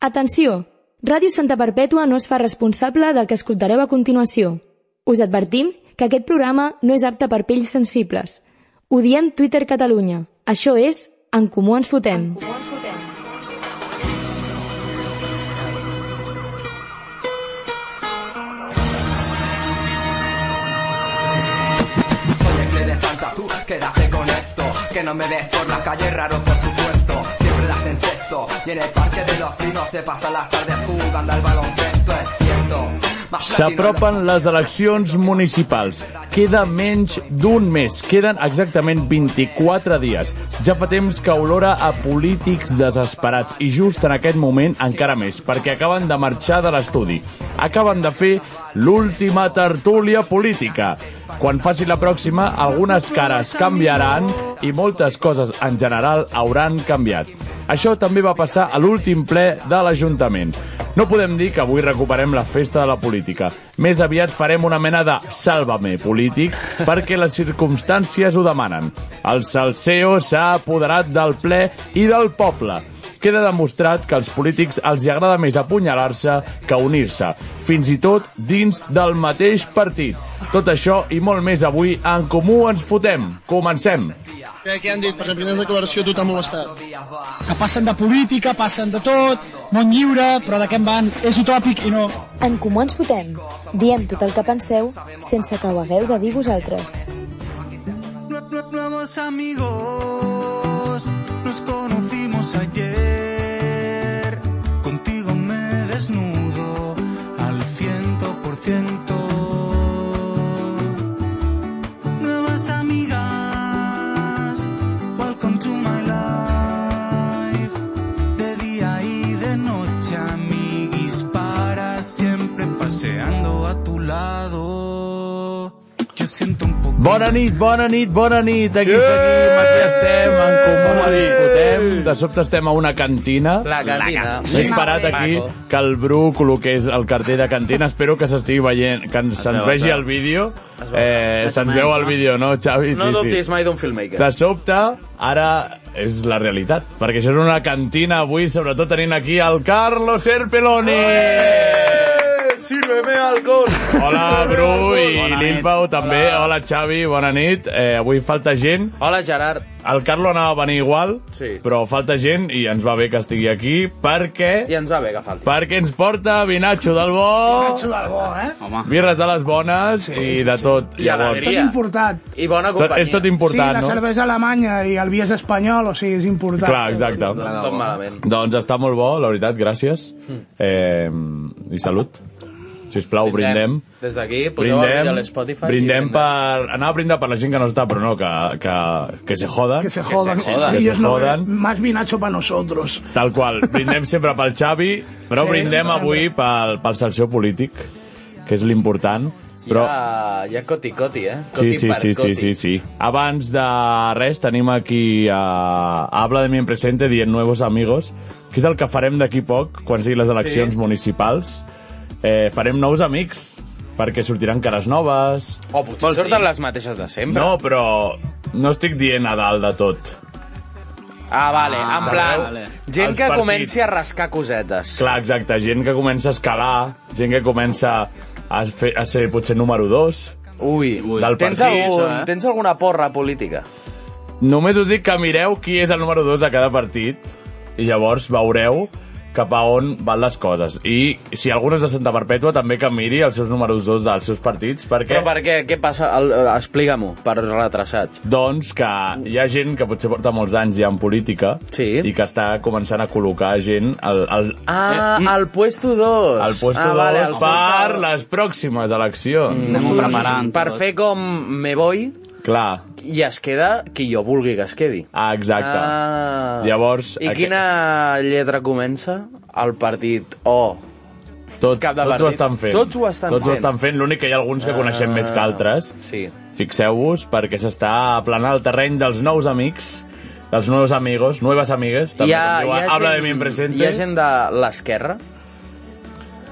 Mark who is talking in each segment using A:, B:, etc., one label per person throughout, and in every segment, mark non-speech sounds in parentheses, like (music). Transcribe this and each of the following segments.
A: Atenció! Ràdio Santa Perpètua no es fa responsable del que escoltareu a continuació. Us advertim que aquest programa no és apte per pells sensibles. Ho diem Twitter Catalunya. Això és En Comú Ens Fotem.
B: Soy el de Santa, tú quédate con esto. Que no me des por la calle, raro por supuesto. Siempre las encesto. Y en el parque de los pinos se pasan las tardes jugando al baloncesto, es cierto. Más
C: S'apropen les eleccions municipals. Queda menys d'un mes. Queden exactament 24 dies. Ja fa temps que olora a polítics desesperats i just en aquest moment encara més, perquè acaben de marxar de l'estudi. Acaben de fer l'última tertúlia política. Quan faci la pròxima, algunes cares canviaran i moltes coses en general hauran canviat. Això també va passar a l'últim ple de l'Ajuntament. No podem dir que avui recuperem la festa de la política. Més aviat farem una mena de sàlvame polític perquè les circumstàncies ho demanen. El salseo s'ha apoderat del ple i del poble queda demostrat que als polítics els hi agrada més apunyalar-se que unir-se, fins i tot dins del mateix partit. Tot això i molt més avui en Comú ens fotem. Comencem.
D: Què, què han dit? Per la primera declaració tu t'ha molestat.
E: que passen de política, passen de tot, món lliure, però de què en van? És utòpic i no.
F: En Comú ens fotem. Diem tot el que penseu sense que ho hagueu de dir vosaltres.
G: Nuevos amigos, nos conocimos ayer. Contigo me desnudo al ciento por ciento. Nuevas amigas, welcome to my life. De día y de noche, amiguis, para siempre paseando a tu lado. Yo siento un poco.
C: Bona nit, bona nit, bona nit. Aquí seguim, aquí estem, en Comú ens fotem. De sobte estem a una cantina.
H: La cantina.
C: He esperat aquí que el Bru col·loqués el cartell de cantina. Espero que s'estigui veient, que ens- se'ns
H: veu,
C: vegi
H: es veu.
C: el vídeo. Eh, se'ns veu el vídeo, no, Xavi?
H: No
C: Sí, sí.
H: dubtis mai d'un filmmaker.
C: De sobte, ara és la realitat, perquè això és una cantina avui, sobretot tenint aquí el Carlos Serpeloni.
H: Sírveme alcohol.
C: Hola, Bru i
E: Bona nit.
C: l'Impau també. Hola, Xavi, bona nit. Eh, avui falta gent.
H: Hola, Gerard.
C: El Carlo anava a venir igual,
H: Sí.
C: però falta gent i ens va bé que estigui aquí
H: I
C: perquè...
H: ens va bé que falti.
C: Perquè ens porta vinatxo del bo,
E: del bo, eh?
I: Home,
C: birres de les bones i de tot.
H: I alegria.
E: És importat.
H: I bona
C: tot,
H: companyia.
C: és tot
E: Sí, la
C: important, no?
E: cervesa alemanya i el vi és espanyol, o sigui, és important.
C: Clar, exacte.
H: Tot malament.
C: Doncs està molt bo, la veritat, gràcies. Eh, I salut. Si us plau, brindem.
H: Des d'aquí, poseu brindem, el vídeo a
C: Brindem,
H: l'Spotify. i
C: brindem per... Anar a brindar per la gent que no està, però no, que, que, que se joda.
E: Que se jodan.
H: jodan.
E: Ellos
C: Que se
E: no
C: jodan.
E: beben. Más vinacho para nosotros.
C: Tal qual. Brindem sempre pel Xavi, però
E: Sí,
C: brindem
E: sempre.
C: avui pel, pel salseu polític, que és l'important.
H: Però...
C: Però...
H: Hi ha, hi ha coti-coti, eh?
C: Sí,
H: Coti
C: sí,
H: per
C: sí, sí,
H: coti.
C: sí, sí. Abans de res, tenim aquí a Habla de mi en presente, dient Nuevos Amigos, que és el que farem d'aquí poc, quan siguin les eleccions
H: Sí.
C: municipals. Eh, farem nous amics, perquè sortiran cares noves...
H: O Oh, potser Vols surten les mateixes de sempre.
C: No, però no estic dient a dalt de tot.
H: Ah, vale, ah, en plan...
I: vale.
H: Gent
C: Els
H: que
C: partits.
H: comenci a rascar cosetes.
C: Clar, exacte, gent que comença a escalar, gent que comença a, fer, a ser potser número 2.
H: Ui, Ui.
C: Del
H: tens,
C: partit,
H: algun,
C: eh?
H: tens alguna porra política?
C: Només us dic que mireu qui és el número 2 de cada partit i llavors veureu cap a on van les coses. I si algú no és de Santa Perpètua, també que miri els seus números 2 dels seus partits, perquè...
H: Però per què? Què passa? El- eh, Explica-m'ho, per retrasats.
C: Doncs que hi ha gent que potser porta molts anys ja en política
H: Sí.
C: i que està començant a col·locar gent al, al,
H: Ah, el puesto 2.
C: Eh, mm. al puesto
H: ah,
C: ah,
H: vale,
C: vale, per
H: el puesto dos. Mm.
C: les pròximes eleccions.
I: anem preparant.
H: Per fer com me voy
C: Clar,
H: i es queda qui jo vulgui que es quedi.
C: ah, exacte.
H: Ah.
C: Llavors,
H: I
C: aquest-
H: quina lletra comença? El partit O.
C: Tots,
H: Cap
C: tots
H: de
C: ho
H: partit.
C: estan fent.
H: Tots ho estan
C: tots
H: fent. Ah.
C: Ho estan fent. L'únic que hi ha alguns que coneixem més que altres.
H: Sí.
C: Fixeu-vos perquè s'està aplanant el terreny dels nous amics, dels nous amigos, noves amigues, també
H: Hi ha,
C: com
H: hi
C: diuen.
H: ha
C: Habla
H: gent,
C: de mi en presente.
H: Hi ha gent de l'esquerra?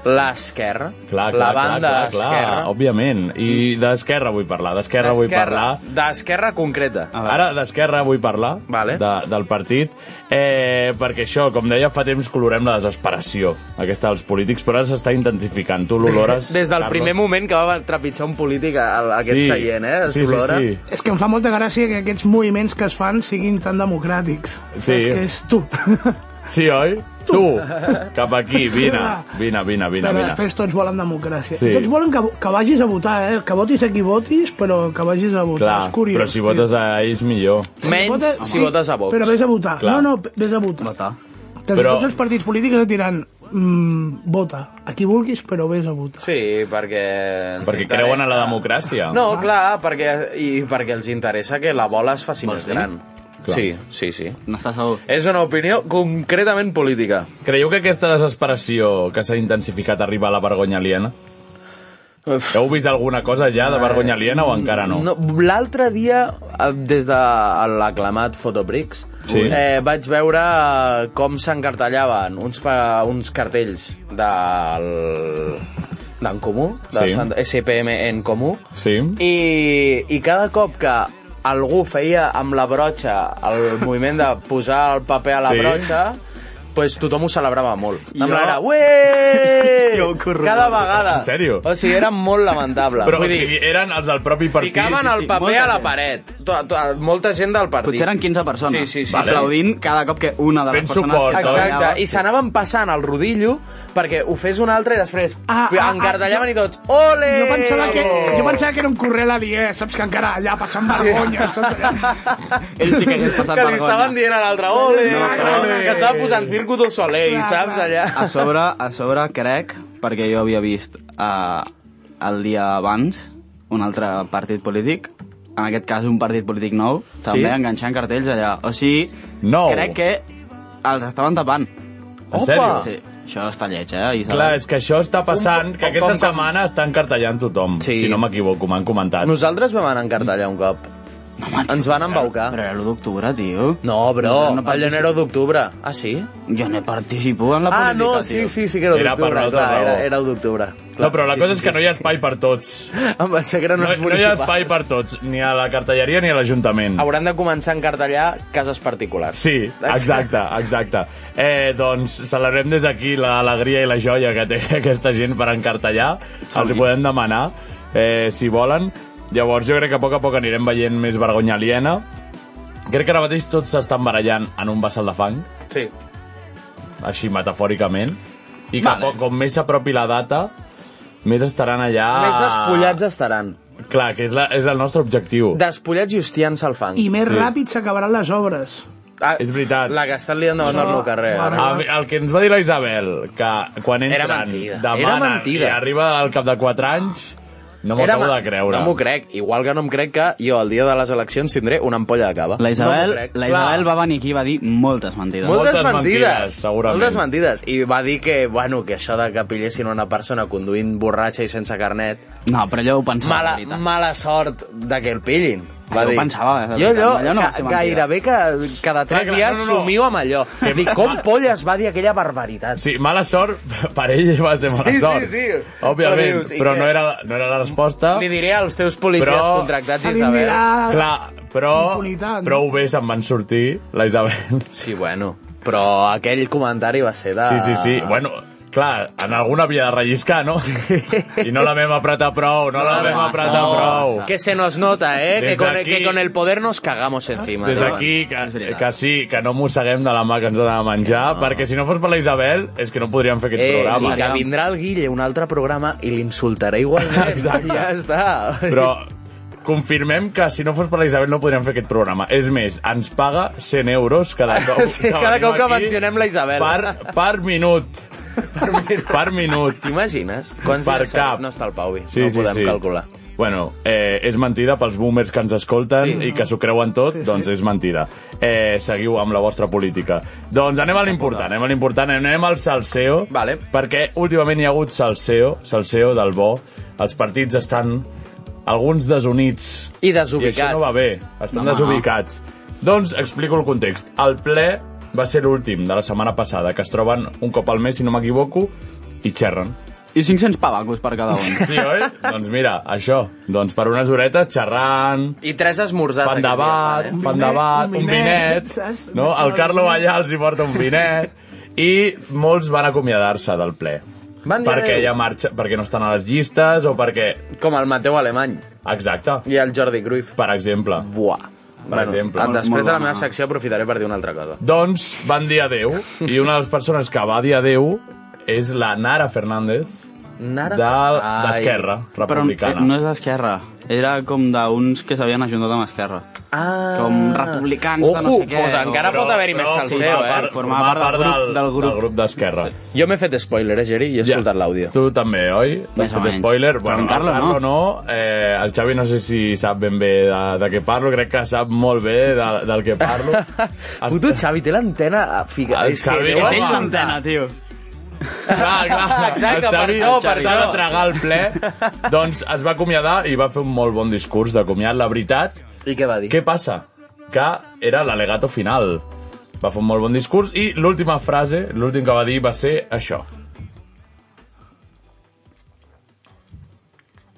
H: l'esquerra,
C: Clar, clar,
H: la
C: clar,
H: banda
C: clar, clar,
H: esquerra.
C: Òbviament. I d'esquerra vull parlar, d'esquerra vull parlar.
H: D'esquerra concreta.
C: Ara d'esquerra vull parlar
H: Vale.
C: de, del partit, eh, perquè això, com deia, fa temps colorem la desesperació, aquesta dels polítics, però ara s'està intensificant. Tu
H: (laughs)
C: l'olores...
H: Des del
C: Carlos?
H: primer moment que va trepitjar un polític a, a aquest
C: Sí.
H: seient, eh?
C: Sí, sí,
H: s'olora.
C: sí.
I: És que em fa molta gràcia que aquests moviments que es fan siguin tan democràtics.
C: Sí.
I: És que és
C: (laughs)
I: tu.
C: Sí, oi? Tu, cap aquí, vine, vine, vine, vine.
I: Però
C: vine.
I: després tots volen democràcia.
C: Sí.
I: Sí. Tots volen que, que vagis a votar, eh? Que votis a qui votis, però que vagis a votar.
C: Clar,
I: és curiós.
C: però si
I: tio.
C: votes a ells, millor.
H: Menys
I: votes-
H: si votes a Vox.
I: Però vés a votar.
C: Clar.
I: No, no, vés a votar.
J: Votar.
I: Que
C: Però-
I: però... tots els partits polítics et diran mm, vota, a qui vulguis, però vés a votar.
H: Sí, perquè... ens
C: Perquè
H: interessa.
C: creuen a la democràcia.
H: No, clar, perquè, i perquè els interessa que la bola es faci més
J: dir?
H: gran.
C: Clar.
H: Sí, sí, sí.
J: N'estàs segur?
H: És una opinió concretament política.
C: Creieu que aquesta desesperació que s'ha intensificat arriba a la vergonya aliena?
H: Uf.
C: Heu vist alguna cosa ja de vergonya aliena o encara no?
H: No, L'altre dia, eh, des de l'aclamat Fotobricks,
C: Sí.
H: eh, vaig veure eh, com s'encartellaven uns, pa- uns cartells del d'en comú, del
C: Sí.
H: Sant- SPM en comú,
C: Sí?
H: i, i cada cop que algú feia amb la brotxa el moviment de posar el paper a la
C: Sí.
H: sí. brotxa, pues tothom ho celebrava molt. Jo...
J: Jo-
H: Amb
C: (laughs)
H: l'era, ué!
J: Jo ho corroborava.
H: Cada vegada.
C: En sèrio?
H: O sigui, era molt lamentable.
C: Però, o
H: Vull dir,
C: sigui, eren els del propi partit.
H: Ficaven el paper
J: molta
H: a la
J: gent.
H: paret. To, to, molta gent del partit.
J: Potser eren 15 persones.
H: Sí, sí, sí.
J: Vale. Aplaudint cada cop que una de les
C: Fent
J: persones...
C: suport,
J: que
C: oi?
H: Exacte,
J: treballava-
H: i s'anaven passant el rodillo perquè ho fes un altre i després
I: Ah,
H: ah, ah,
I: ah,
H: encardellaven
I: ah,
H: i tots ole!
I: Jo pensava, que, jo pensava que era un correu aliè, saps que encara allà passant vergonya, saps allà?
H: (laughs)
J: Ells sí que hagués passat
H: que li
J: vergonya.
H: estaven dient a l'altre ole,
I: No,
H: no,
I: però-
H: que estava posant Circo del Soleil,
I: Clar,
H: saps,
I: clar.
H: allà.
J: A sobre, a sobre crec, perquè jo havia vist eh, el dia abans un altre partit polític, en aquest cas un partit polític nou, també enganxant cartells allà. O sigui,
C: Nou.
J: crec que els estaven tapant.
C: En sèrio?
J: Sí, això està lleig, eh? I
C: Clar, és que això està passant, que aquesta
H: com- com-
C: setmana estan cartellant tothom,
H: Sí.
C: si no m'equivoco, m'han comentat.
H: Nosaltres vam anar a encartellar un cop.
J: No, macho,
H: Ens van embaucar.
J: Però era l'1 d'octubre, tio.
H: No, bro,
J: Nosaltres no
H: el llenero d'octubre. Ah, sí?
J: Jo no participo en la
H: Ah,
J: política,
H: no,
J: tio.
H: sí, sí, sí que era
C: Era per
H: d'octubre.
C: l'altra
H: clar, Era,
C: raó.
H: era d'octubre.
C: No, però la cosa és que no hi ha espai per tots.
H: (laughs) Em pensava que eren
C: No,
H: uns
C: no hi ha
H: municipals.
C: espai per tots, ni a la cartelleria ni a l'Ajuntament.
H: Hauran de començar a encartellar cases particulars.
C: Sí, exacte, exacte. Eh, doncs celebrem des d'aquí l'alegria i la joia que té (laughs) aquesta gent per encartellar. Els hi podem demanar, eh, si volen. Llavors jo crec que a poc a poc anirem veient més vergonya aliena. Crec que ara mateix tots s'estan barallant en un vessal de fang,
H: Sí.
C: així metafòricament, i que
J: Vale.
C: vale. com més s'apropi la data, més estaran allà...
H: Més despullats estaran.
C: Clar, que és, la, és el nostre objectiu.
H: Despullats i hostiant-se al fang.
I: I més
C: Sí.
I: sí. ràpid s'acabaran les obres.
H: Ah,
C: És veritat.
H: La que estan liant davant del meu carrer.
I: Mare
H: Ara.
I: meva.
C: Ah, El, el que ens va dir la Isabel, que quan entren,
H: mentida. Era
C: demanen i
H: mentida.
C: arriba al cap de 4 anys, no m'ho
H: Era
C: acabo
H: ma-
C: de creure.
H: No m'ho crec. Igual que no em crec que jo el dia de les eleccions tindré una ampolla de cava.
J: La Isabel,
H: No m'ho crec.
J: la
C: clar.
J: Isabel va venir aquí i va dir moltes mentides.
C: Molt-
H: Moltes,
C: Moltes
H: mentides,
C: mentides, segurament.
H: Moltes mentides. I va dir que, bueno, que això de que pillessin una persona conduint borratxa i sense carnet,
J: No, però allò ho pensava,
H: mala,
J: la veritat.
H: mala sort de que el pillin. Va
C: Ah,
J: Jo ho
H: dir.
C: eh,
J: pensava, de
H: jo allò,
J: veritat, allò no va ser
H: ga-
J: mentida.
H: gairebé que cada tres
C: clar,
H: dies
C: no, no, no.
H: somio amb allò.
C: Que-
H: Dic, com polles va dir aquella barbaritat?
C: Sí, mala sort, (laughs) per ell va ser mala
H: Sí, sí,
C: sort.
H: sí.
C: Òbviament,
H: Però
C: però,
H: dius, i
C: però
H: què?
C: no, era, la- no era la resposta.
H: Li diré als teus policies
C: Però-
H: contractats,
I: Se li
H: Isabel.
I: dirà...
C: Clar, però,
I: Impunitat, no?
C: prou bé se'n van sortir, la Isabel.
H: Sí, bueno, però aquell comentari va ser de...
C: Sí, sí,
H: Ah.
C: sí. Bueno, clar, en alguna havia de relliscar,
H: (laughs)
C: no? I no la vam apretar prou, no
H: Ah,
C: la vam
J: massa,
C: apretar
J: no
C: prou.
J: massa.
H: Que se nos nota, eh?
C: Des
H: Que con,
C: d'aquí-
H: que con el poder nos cagamos encima.
C: Des
H: tio. Eh,
C: d'aquí,
J: És
C: que,
J: veritat.
C: que sí, que no mosseguem de la mà que ens ha de menjar, no. perquè si no fos per la Isabel, és que no podríem fer aquest
H: Eh, i que
C: programa.
H: vindrà el Guille a un altre programa i l'insultaré igualment.
C: Exacte.
H: Ja està.
C: Però confirmem que si no fos per la Isabel no podríem fer aquest programa. És més, ens paga 100 euros cada
H: (laughs)
C: cop
H: Sí, cada
C: venim
H: cop que
C: aquí
H: mencionem la Isabel.
C: Per, per
H: (laughs)
C: minut. per minut.
H: T'imagines? Quants
C: Per
H: dies
C: cap.
H: no està el Pauvi? no ho podem calcular.
C: Bueno, eh, és mentida pels boomers que ens escolten
H: Sí.
C: i que s'ho creuen tot, doncs és mentida. Eh, seguiu amb la vostra política. Doncs anem a l'important, anem a l'important, anem al salseo,
H: Vale.
C: perquè últimament hi ha hagut salseo, salseo del bo, els partits estan alguns desunits,
H: I
C: i això
H: desubicats.
C: no va bé, estan
J: Home,
C: desubicats. Doncs explico el context. El ple va ser l'últim de la setmana passada, que es troben un cop al mes, si no m'equivoco, i xerren.
K: I 500 pavacos per cada un.
C: Sí, oi? doncs mira, això. Doncs per unes horetes xerrant...
H: I tres esmorzars.
C: Pan de bat, pan de bat, un vinet... No? El Carlo allà els hi porta un vinet. I molts van acomiadar-se del ple.
H: Van dir
C: perquè
H: adéu.
C: ja marxa, perquè no estan a les llistes o perquè...
H: Com el Mateu Alemany.
C: Exacte.
H: I el Jordi Cruyff.
C: Per exemple.
H: Buah.
C: Per exemple. Molt, molt
H: Després de la
C: bona.
H: meva secció aprofitaré per dir una altra cosa.
C: Doncs van dir adeu, i una de les persones que va dir adeu és la Nara Fernández,
H: Nara?
C: del- d'Esquerra (laughs) Republicana.
K: Però eh, no és d'Esquerra. Era com d'uns que s'havien ajuntat amb Esquerra.
H: Ah.
K: Com republicans de no sé què.
H: Doncs encara pot haver-hi més salseo, eh?
K: Formava part del grup. Del grup.
C: del grup d'Esquerra. Sí.
H: Jo m'he fet spoiler, eh, Geri? I he escoltat l'àudio.
C: Tu també, oi?
H: Més o
C: Fet
H: menys.
C: spoiler,
H: Però
C: bueno,
H: en Carlo
C: el Carlo no. Eh, el Xavi no sé si sap ben bé de, de què parlo, crec que sap molt bé de, del que
H: (laughs)
C: parlo.
H: Puto Xavi té l'antena ah, a ficar.
C: El Xavi,
H: deu
C: home.
H: escoltar.
C: És l'antena,
K: tio.
C: Ah, Clar, clar.
H: (laughs) Exacte,
C: el Xavi
H: per això, per
C: s'ha
H: això.
C: de tragar el
H: (laughs)
C: ple. doncs es va acomiadar i va fer un molt bon discurs d'acomiad, la veritat.
H: I què va dir?
C: Què passa? Que era l'alegato final. Va fer un molt bon discurs i l'última frase, l'últim que va dir va ser això.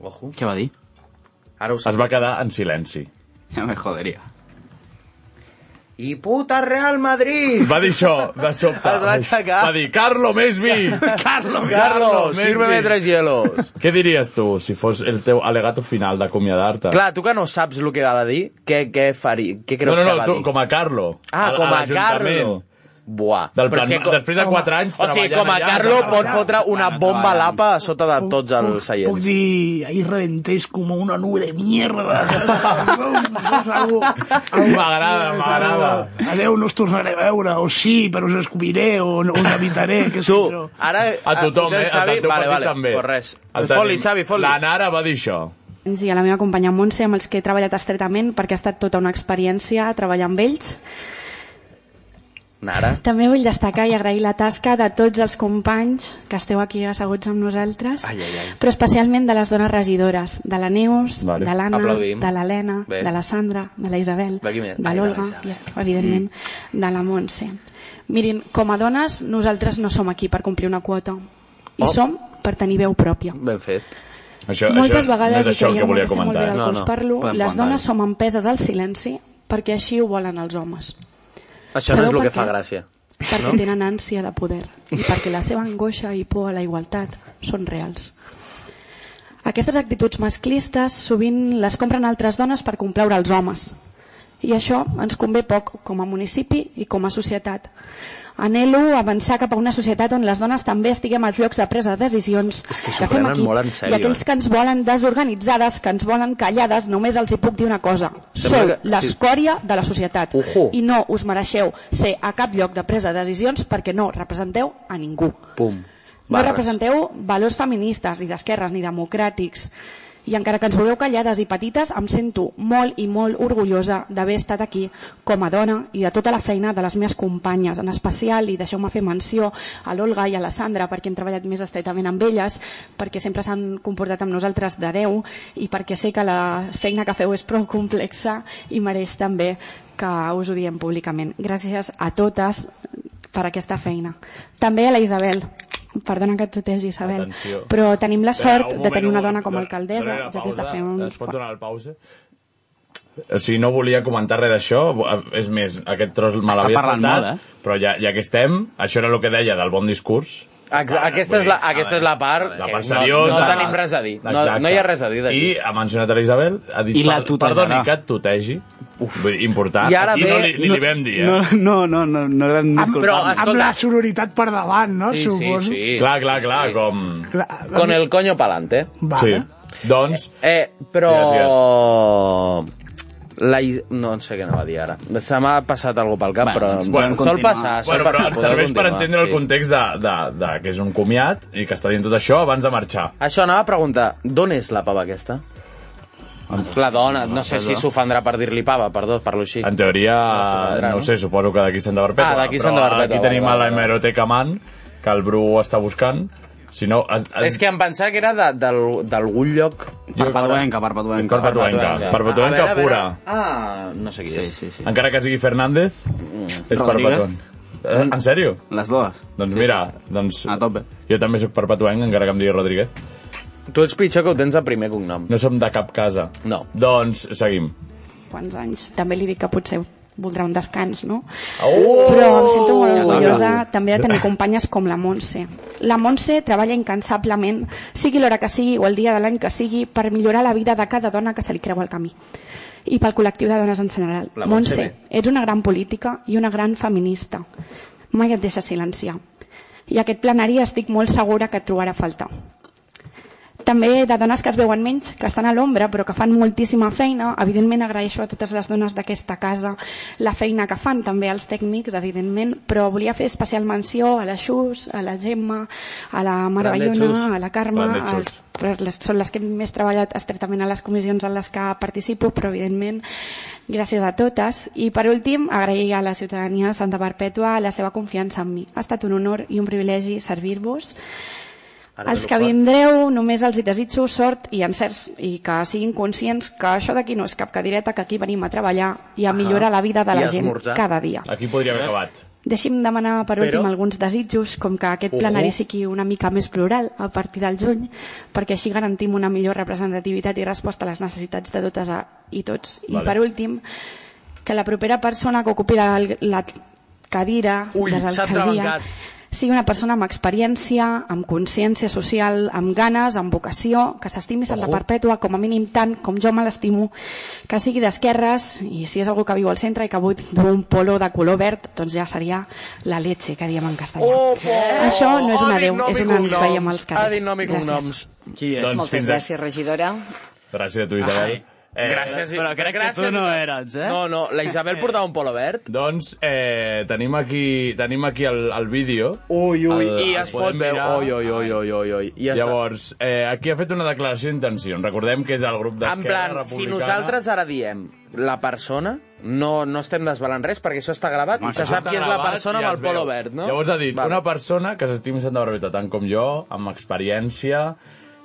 H: Ojo.
K: Què va dir?
H: Ara
C: Es va quedar en silenci.
K: Ja me joderia.
H: I puta Real Madrid!
C: Va dir això, de sobte.
H: Es va aixecar.
C: Va dir, Carlo
H: (laughs)
C: Mesmi! (laughs)
H: Carlos,
C: Carlos,
H: Carlos, sírveme
C: Messi.
H: tres hielos.
C: (laughs) Què diries tu si fos el teu alegato final d'acomiadar-te?
H: Clar, tu que no saps el que va dir, què, què, faria, què creus
C: no, no,
H: que
C: no,
H: va
C: tu,
H: dir?
C: com a Carlo.
H: Ah, com a
C: l'Ajuntament.
H: Carlo. Buah.
C: Del
H: Però
C: plan,
H: és que co-
C: després de 4 anys
H: O sigui, com
C: treballant
H: a
C: allà,
H: Carlo
C: treballant.
H: pot fotre una bomba a l'apa a sota de tots els
I: Puc
H: seients.
I: dir, ahí reventéis como una nube de mierda.
C: (laughs) M'agrada, m'agrada.
I: Adeu, no us tornaré a veure, o sí, però us escopiré, o no- us evitaré, que sí, jo.
H: Ara,
C: A tothom, eh? Al teu
H: Ah, vale,
C: partit
H: vale,
C: també.
H: Pues res.
C: El
H: Fot-li,
C: tenim.
H: Xavi, fot-li.
C: La Nara va dir això.
J: Sí, a la meva companya Montse, amb els que he treballat estretament, perquè ha estat tota una experiència treballar amb ells.
H: Nara.
J: També vull destacar i agrair la tasca de tots els companys que esteu aquí asseguts amb nosaltres,
H: Ai, ai, ai.
J: però especialment de les dones regidores, de la Neus,
H: Vale.
J: de l'Anna,
H: Aplaudim.
J: de l'Helena,
H: Bé.
J: de la Sandra, de la Isabel,
H: De qui més? Ai,
J: de
H: de la
J: l'Olga, i, evidentment, de la Montse. Mirin, com a dones, nosaltres no som aquí per complir una quota. I
H: Oh.
J: som per tenir veu pròpia.
H: Ben fet.
C: Això,
J: Moltes vegades,
C: no és
J: i
C: això el
J: creieu
C: que volia
J: que sé molt
C: comentar.
J: bé del
C: eh?
J: que us parlo, les dones som empeses al silenci perquè així ho volen els homes.
H: Això no
J: Sabeu
H: és el
J: per
H: que fa
J: què?
H: gràcia.
J: Perquè
H: No?
J: tenen ànsia de poder i perquè la seva angoixa i por a la igualtat són reals. Aquestes actituds masclistes sovint les compren altres dones per complaure els homes. I això ens convé poc com a municipi i com a societat. Anhelo avançar cap a una societat on les dones també estiguem als llocs de presa de decisions
H: que s'ho prenen molt en sèrio,
J: i aquells
H: eh?
J: que ens volen desorganitzades, que ens volen callades, només els hi puc dir una cosa. Sou
H: Sembla que- sí.
J: l'escòria de la societat
H: Ojo.
J: i no us mereixeu ser a cap lloc de presa de decisions perquè no representeu a ningú.
H: Pum.
J: No
H: Barres.
J: representeu valors feministes, ni d'esquerres, ni democràtics. I encara que ens voleu callades i petites, em sento molt i molt orgullosa d'haver estat aquí com a dona i de tota la feina de les meves companyes, en especial, i deixeu-me fer menció a l'Olga i a la Sandra, perquè hem treballat més estretament amb elles, perquè sempre s'han comportat amb nosaltres de Déu i perquè sé que la feina que feu és prou complexa i mereix també que us ho diem públicament. Gràcies a totes per aquesta feina. També a la Isabel. Perdona que et tutegi, Isabel.
C: Atenció.
J: Però tenim la
C: Espera,
J: sort
C: un
J: de tenir
C: moment,
J: una
C: un
J: dona
C: moment.
J: com a alcaldessa,
C: Donaré la
J: ja des de
C: pausa.
J: fer uns
C: Es pot donar el pausa? O sigui, Eh, no volia comentar res d'això, eh, és més, aquest tros me
K: Està
C: l'havia
K: parlant
C: saltat,
K: molt,
H: eh?
C: però ja, ja que estem, això era el que deia del bon discurs.
H: Ex- Aquesta és la, aquesta és la part
C: La
H: que
C: part
H: no,
C: seriosa.
H: no tenim res a dir. No,
C: Exacte.
H: no hi ha res a dir d'aquí.
C: I ha mencionat a l'Isabel, ha dit,
K: I la
C: "Per-
K: tutellarà."
C: perdoni que et tutegi, Uf. important.
H: I ara
C: Aquí
H: ve-
C: no li, li, li vam dir, eh?
K: No, no, no, no, no eren
I: Amb,
K: disculpant.
I: amb la sororitat per davant, no?
H: Sí, sí,
I: Suposo.
H: sí.
C: Clar, clar, clar, com...
I: Clar,
H: Con el coño pa'lante.
I: Vale.
C: Sí. Doncs,
H: Eh, però... La... Is- No sé què anava a dir ara. Se m'ha passat alguna cosa pel cap,
K: Bueno,
H: però...
K: doncs podem
H: sol
K: continuar.
H: passar, sol
C: bueno, però
H: passar.
C: ens
H: podeu
C: serveix per
H: continuar,
C: entendre el context de, de, de, que és un comiat i que està dient tot això abans de marxar.
H: Això anava a preguntar, d'on és la pava aquesta? La dona, no sé si s'ofendrà per dir-li pava, perdó, parlo així.
C: En teoria,
H: s'ofendrà,
C: no
H: no?
C: ho sé, suposo que d'aquí s'han de perpètua.
H: Ah, d'aquí
C: però
H: s'han de perpètua,
C: Aquí
H: vale,
C: tenim a
H: vale,
C: la
H: vale.
C: hemeroteca man, que el Bru està buscant. Si no, a, a,
H: És que em pensava que era de- d'al- d'algun lloc... Doncs, eh,
K: Perpetuenca, perpetuenca.
C: perpetuenca,
H: A
C: perpetuenca
H: veure, a veure.
C: pura.
H: Ah, no sé qui
K: Sí,
H: és.
K: sí, sí.
H: Mm.
C: Encara que sigui Fernández, és
K: Rodríguez.
C: perpetuent. Eh, En sèrio?
J: Les dues.
C: Doncs mira, doncs...
H: Ah,
C: A tope. Jo també sóc perpetuenc, encara que em digui Rodríguez. Tu ets pitjor que ho tens de primer cognom. No som de cap casa. No. Doncs seguim.
L: quants anys. També li dic que potser voldrà un descans, no?
C: Oh!
L: Però em sento molt
C: Ja
L: orgullosa
C: toca.
L: també de tenir companyes com la Montse. La Montse treballa incansablement, sigui l'hora que sigui o el dia de l'any que sigui, per millorar la vida de cada dona que se li creu al camí i pel col·lectiu de dones en general.
M: La Montse
L: Montse, ets una gran política i una gran feminista. Mai et deixes silenciar. I aquest plenari estic molt segura que et trobarà a faltar també de dones que es veuen menys, que estan a l'ombra però que fan moltíssima feina. Evidentment agraeixo a totes les dones d'aquesta casa la feina que fan, també als tècnics, evidentment, però volia fer especial menció a la Xus, a la Gemma, a la Mar
M: Grande Xus.
L: Bayona, a la Carme,
M: Grande Xus.
L: als, però les, són les que hem més treballat estretament a les comissions en les que participo, però evidentment gràcies a totes. I per últim, agrair a la ciutadania de Santa Perpètua la seva confiança en mi. Ha estat un honor i un privilegi servir-vos.
M: Ara
L: Els
M: ve
L: que
M: lo fort.
L: vindreu només els hi desitjo sort i encerts i que siguin conscients que això d'aquí no és cap cadireta, que aquí venim a treballar i a millorar la vida de la gent cada dia.
C: Aquí podria haver acabat.
L: Deixi'm demanar per últim
C: Però-
L: alguns desitjos, com que aquest
C: Ojo.
M: Oh.
L: plenari sigui una mica més plural a partir del juny, perquè així garantim una millor representativitat i resposta a les necessitats de totes a, i tots.
M: Vale.
L: I per últim, que la propera persona que ocupi la, la cadira
M: Ui,
L: de
M: s'ha
L: l'alcaldia
M: trebancat.
L: sigui una persona amb experiència, amb consciència social, amb ganes, amb vocació, que s'estimi Santa
M: Ojo.
L: Perpètua com a mínim tant com jo me l'estimo, que sigui d'esquerres i si és algú que viu al centre i que vull d'un polo de color verd, doncs ja seria la leche, que diem en castellà. Això no és una déu, és una ens veiem als carrers. Gràcies.
C: Qui és? Doncs
N: Moltes
C: fins
N: gràcies, regidora.
C: Gràcies a tu, Isabel.
H: Eh, gràcies, però crec
J: tu no eres, eh?
H: No, no, la Isabel portava un polo verd.
C: Doncs eh, tenim aquí, tenim aquí el, el vídeo.
H: Ui, ui,
C: El-
H: i
C: el
H: es pot
C: podem
H: veure...
C: mirar.
H: Ui, ui, ui, ui, ui, ui. I ja
C: Llavors, eh, aquí ha fet una declaració d'intencions. Recordem que és el grup
H: està. En
C: d'Esquerra
H: plan, si
C: Republicana.
H: nosaltres ara diem la persona, no, no estem desvelant res, perquè això està gravat i se
C: Això
H: sap
C: està
H: qui és la
C: gravat
H: persona
C: i
H: amb
C: es
H: el polo
C: veu.
H: verd, no?
C: Llavors ha dit, vale. una persona que s'estimi Santa Barbeta tant com jo, amb experiència,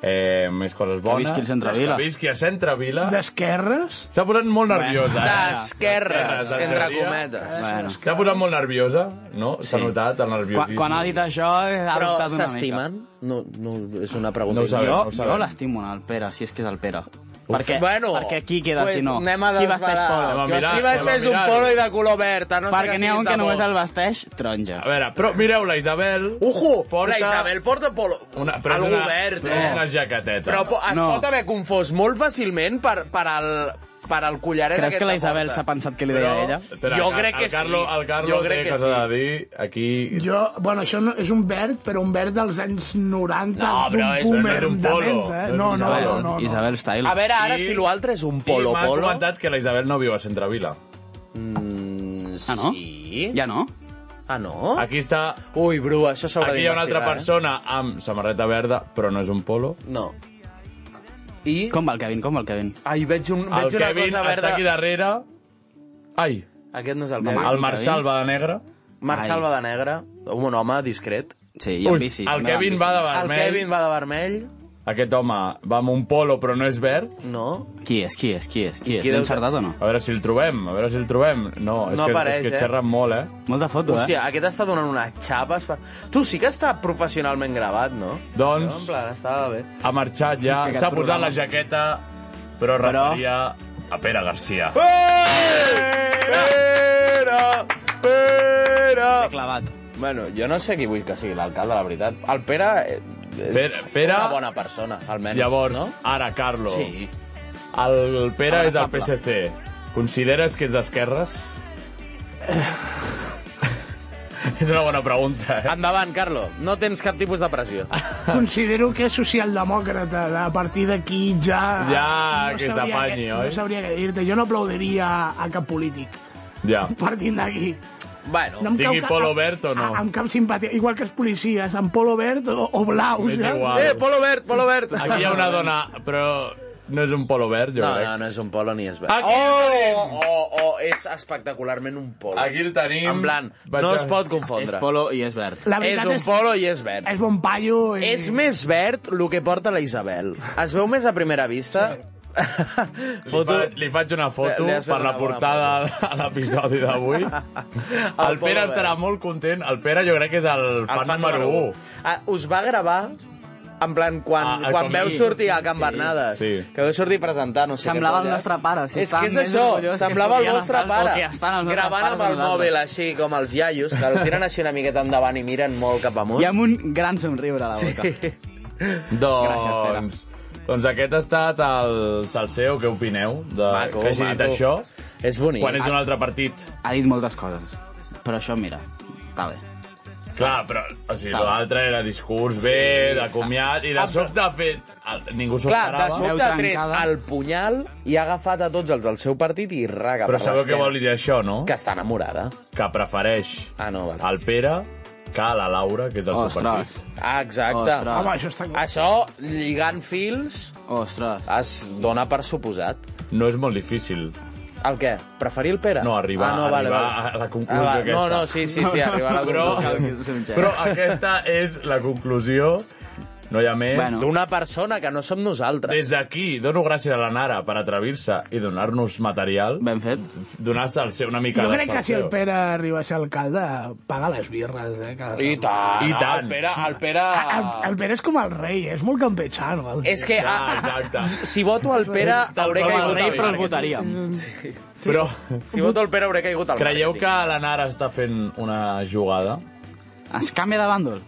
C: eh, més coses bones...
J: visqui al centre vila.
C: Que visqui a Centre Vila.
I: D'esquerres?
C: S'ha posat molt
I: Bueno,
C: nerviosa. eh?
H: d'esquerres,
C: en
H: entre
C: teoria.
H: cometes. Bueno.
C: S'ha posat molt nerviosa, no? S'ha
H: Sí.
C: notat el nerviosisme.
J: Quan, quan ha dit això, eh, ha
H: Però
J: dubtat una mica.
H: s'estimen? No, no, és una pregunta.
J: No ho sabem,
H: jo,
J: jo, no ho sabem. Oh, jo l'estimo al Pere, si és que és el Pere. Perquè,
H: Bueno,
J: perquè qui queda
H: pues
J: si no?
H: anem a
J: qui vesteix
H: desvelar.
J: polo?
H: Qui vesteix- vesteix un polo i de color verd, a no ser
J: Perquè
H: que
J: n'hi ha
H: siguis
J: un
H: de
J: que només
H: Vox.
J: el vesteix taronja.
C: A veure, però mireu, la Isabel...
H: Ujo,
C: Porta-
H: la Isabel porta polo...
C: Una, però és
H: Algú
C: una,
H: verd,
C: és
H: eh?
C: Una jaqueteta.
H: Però po- es no. pot haver confós molt fàcilment per, per, al, per al collaret
J: Creus
H: aquest
J: que la
H: de
J: Isabel
H: porta.
J: s'ha pensat que li deia
H: Però-
J: ella?
C: Espera,
H: jo
C: el-
H: crec que
C: el Carlo,
H: sí.
C: El Carlo
H: Jo crec
C: té
H: que
C: cosa
H: sí.
C: de dir aquí...
I: Jo, bueno, això no, és un verd, però un verd dels anys 90.
C: No, Ah, però
I: d'un
C: és- no és
I: boomer
C: un polo.
I: de vent, Eh?
C: No
I: No,
C: és
I: no,
C: un
I: no,
C: polo.
I: no, no.
J: Isabel Style.
H: A veure, ara, si l'altre és un
C: I m'ha
H: polo-polo...
C: comentat que la Isabel no viu a Centrevila.
H: Oh. Mm,
J: Ah, no?
H: Sí.
J: Ja no?
H: Ah, no?
C: Aquí està...
H: Ui, bru, això s'haurà
C: Aquí hi ha una altra
H: d'investigar, eh?
C: persona amb samarreta verda, però no és un polo.
H: No. I...
J: Com va el Kevin, com va el Kevin?
H: Ai, veig, un,
C: El
H: veig una
C: Kevin
H: cosa
C: està
H: verda.
C: aquí darrere. Ai.
H: Aquest no és el
C: No,
H: Kevin.
C: el Marçal va de negre.
H: Marçal
C: Ai.
H: va de negre. Un home discret.
J: Sí,
C: i amb Ui, bici. el Anava amb Kevin bici. va de vermell.
H: El Kevin va de vermell.
C: Aquest home va amb un polo, però no és verd.
H: No.
J: Qui és, qui és, qui és? Qui
C: I
J: és?
C: qui
J: L'he
C: deu-
J: encertat o no?
C: A veure si el trobem, a veure si el trobem. No, és
H: No
C: que,
H: apareix,
C: és que
H: eh?
C: xerren molt, eh?
J: Molta foto,
H: Hòstia, aquest està donant unes xapes. Per... Tu sí que està professionalment gravat, no?
C: Doncs-
H: No, en plan, estava bé.
C: Ha marxat ja,
H: És que aquest
C: s'ha posat
H: programa-
C: la jaqueta, però,
H: Però-
C: referia a Pere Garcia.
H: Pere! Pere!
J: clavat.
H: Bueno, jo no sé qui vull que sigui l'alcalde, la veritat. El Pere... eh, És
C: Pere- Pere-
H: Una bona persona, almenys.
C: Llavors,
H: no?
C: ara, Carlo,
H: Sí.
C: el Pere és del
H: Abraçable.
C: PSC. Consideres que és
H: (laughs)
C: d'esquerres? és una bona pregunta, eh?
H: Endavant, Carlo. No tens cap tipus de pressió.
C: (laughs)
I: Considero que és socialdemòcrata. A partir d'aquí ja...
C: Ja, eh? que
I: sabria
C: t'apanyi,
I: què-
C: oi?
I: No sabria què dir-te. Jo no aplaudiria a cap polític. (laughs)
C: Ja.
I: Partint d'aquí.
H: Bueno,
I: em cau
C: digui
I: cap-
C: polo verd o no?
I: a- Amb cap simpatia. Igual que els policies, amb polo verd o, o blau.
C: M'és
I: saps?
C: igual. Eh,
H: polo verd, polo verd.
C: Aquí hi ha una dona, però no és un polo verd, jo
H: No,
C: crec.
H: no, no és un polo ni és verd.
C: Aquí
H: oh, oh, oh, és espectacularment un polo.
C: Aquí el tenim.
H: En plan,
C: Vaig
H: no
C: a-
H: es pot confondre.
J: És polo i és verd.
I: La
H: és Eh,
I: veritat
H: un
I: és-
H: polo i és verd.
I: És bon paio. I...
H: És més verd el que porta la Isabel. Es veu més a primera vista... Sí. (laughs)
C: Foto, li faig una foto
H: Li has fet
C: per la
H: una bona
C: portada a l'episodi
H: (laughs)
C: d'avui. El Pere estarà molt content. El Pere jo crec que és el, fan número 1.
H: Ah, us va gravar en plan, quan,
C: Ah,
H: quan
C: com
H: veu
C: ahir.
H: sortir a Can Bernades,
C: Sí.
H: que veu sortir a presentar, no sé
J: Semblava
H: què
J: el
H: polla.
J: nostre pare, si
H: és
J: estava
H: que és
J: més
H: això,
J: orgullós que
H: semblava el
J: podien
H: nostre
J: estar- o
H: pare,
J: que estan els nostres
H: gravant
J: pares
H: amb el
J: nosaltres.
H: mòbil així, com els iaios, que el tiren així una miqueta endavant i miren molt cap amunt.
J: I amb un gran somriure a la boca.
H: Sí.
C: Doncs, doncs aquest ha estat el salseo. Què opineu de
J: Maco,
C: que hagi dit
J: maco.
C: això?
H: És bonic. Ah,
C: Quan és un altre partit.
J: Ha dit moltes coses, però això, mira, està bé.
C: Clar, però o sigui,
J: Clar.
C: l'altre era discurs bé, de comiat, i de sobte ha fet... el- Ningú s'ho
H: Ah, Clar, de
C: esperava.
H: sobte ha tret el punyal i ha agafat a tots els del seu partit i raga
C: Però
H: per
C: sabeu què
H: l'esquena.
C: vol dir això, no? Que
H: està enamorada.
C: Que prefereix
H: ah, no,
C: el Pere que a la Laura, que és el seu partit.
H: Ah, exacte.
C: Ostres. Home, això està clar.
H: Això, lligant fils,
J: Ostres.
C: (laughs)
H: es dona per suposat.
C: No és molt difícil.
H: El què? Preferir el Pere? Ah,
C: No, arribar- arribar a la conclusió
H: va,
C: aquesta.
H: No, no, sí, sí, sí, arribar a la
C: (laughs) Però-
H: conclusió.
C: Però aquesta és la conclusió. No hi ha més.
H: Bueno. D'una persona que no som nosaltres.
C: Des d'aquí, dono gràcies a la Nara per atrevir-se i donar-nos material.
J: Ben fet.
C: Donar-se el seu, una mica
I: Jo
C: de
I: crec que si el
C: salseo.
I: Pere arriba a ser alcalde, paga les birres, eh? Cada
C: I
I: setmana.
C: tant, I tant. el Pere-
H: el Pere...
M: Ah,
I: El, el Pere Ah, és com el rei, eh? és molt campechano. El...
H: És que, ah,
C: exacte.
H: (laughs) si voto el Pere, hauré
C: com el
H: caigut
C: rei,
H: al
C: però el
H: Marc.
C: votaríem.
H: Sí.
C: Però...
H: Si voto el Pere, hauré caigut al
C: Creieu
H: Marc,
C: que la Nara està fent una jugada?
J: Es canvia de
C: (laughs)
J: bàndol?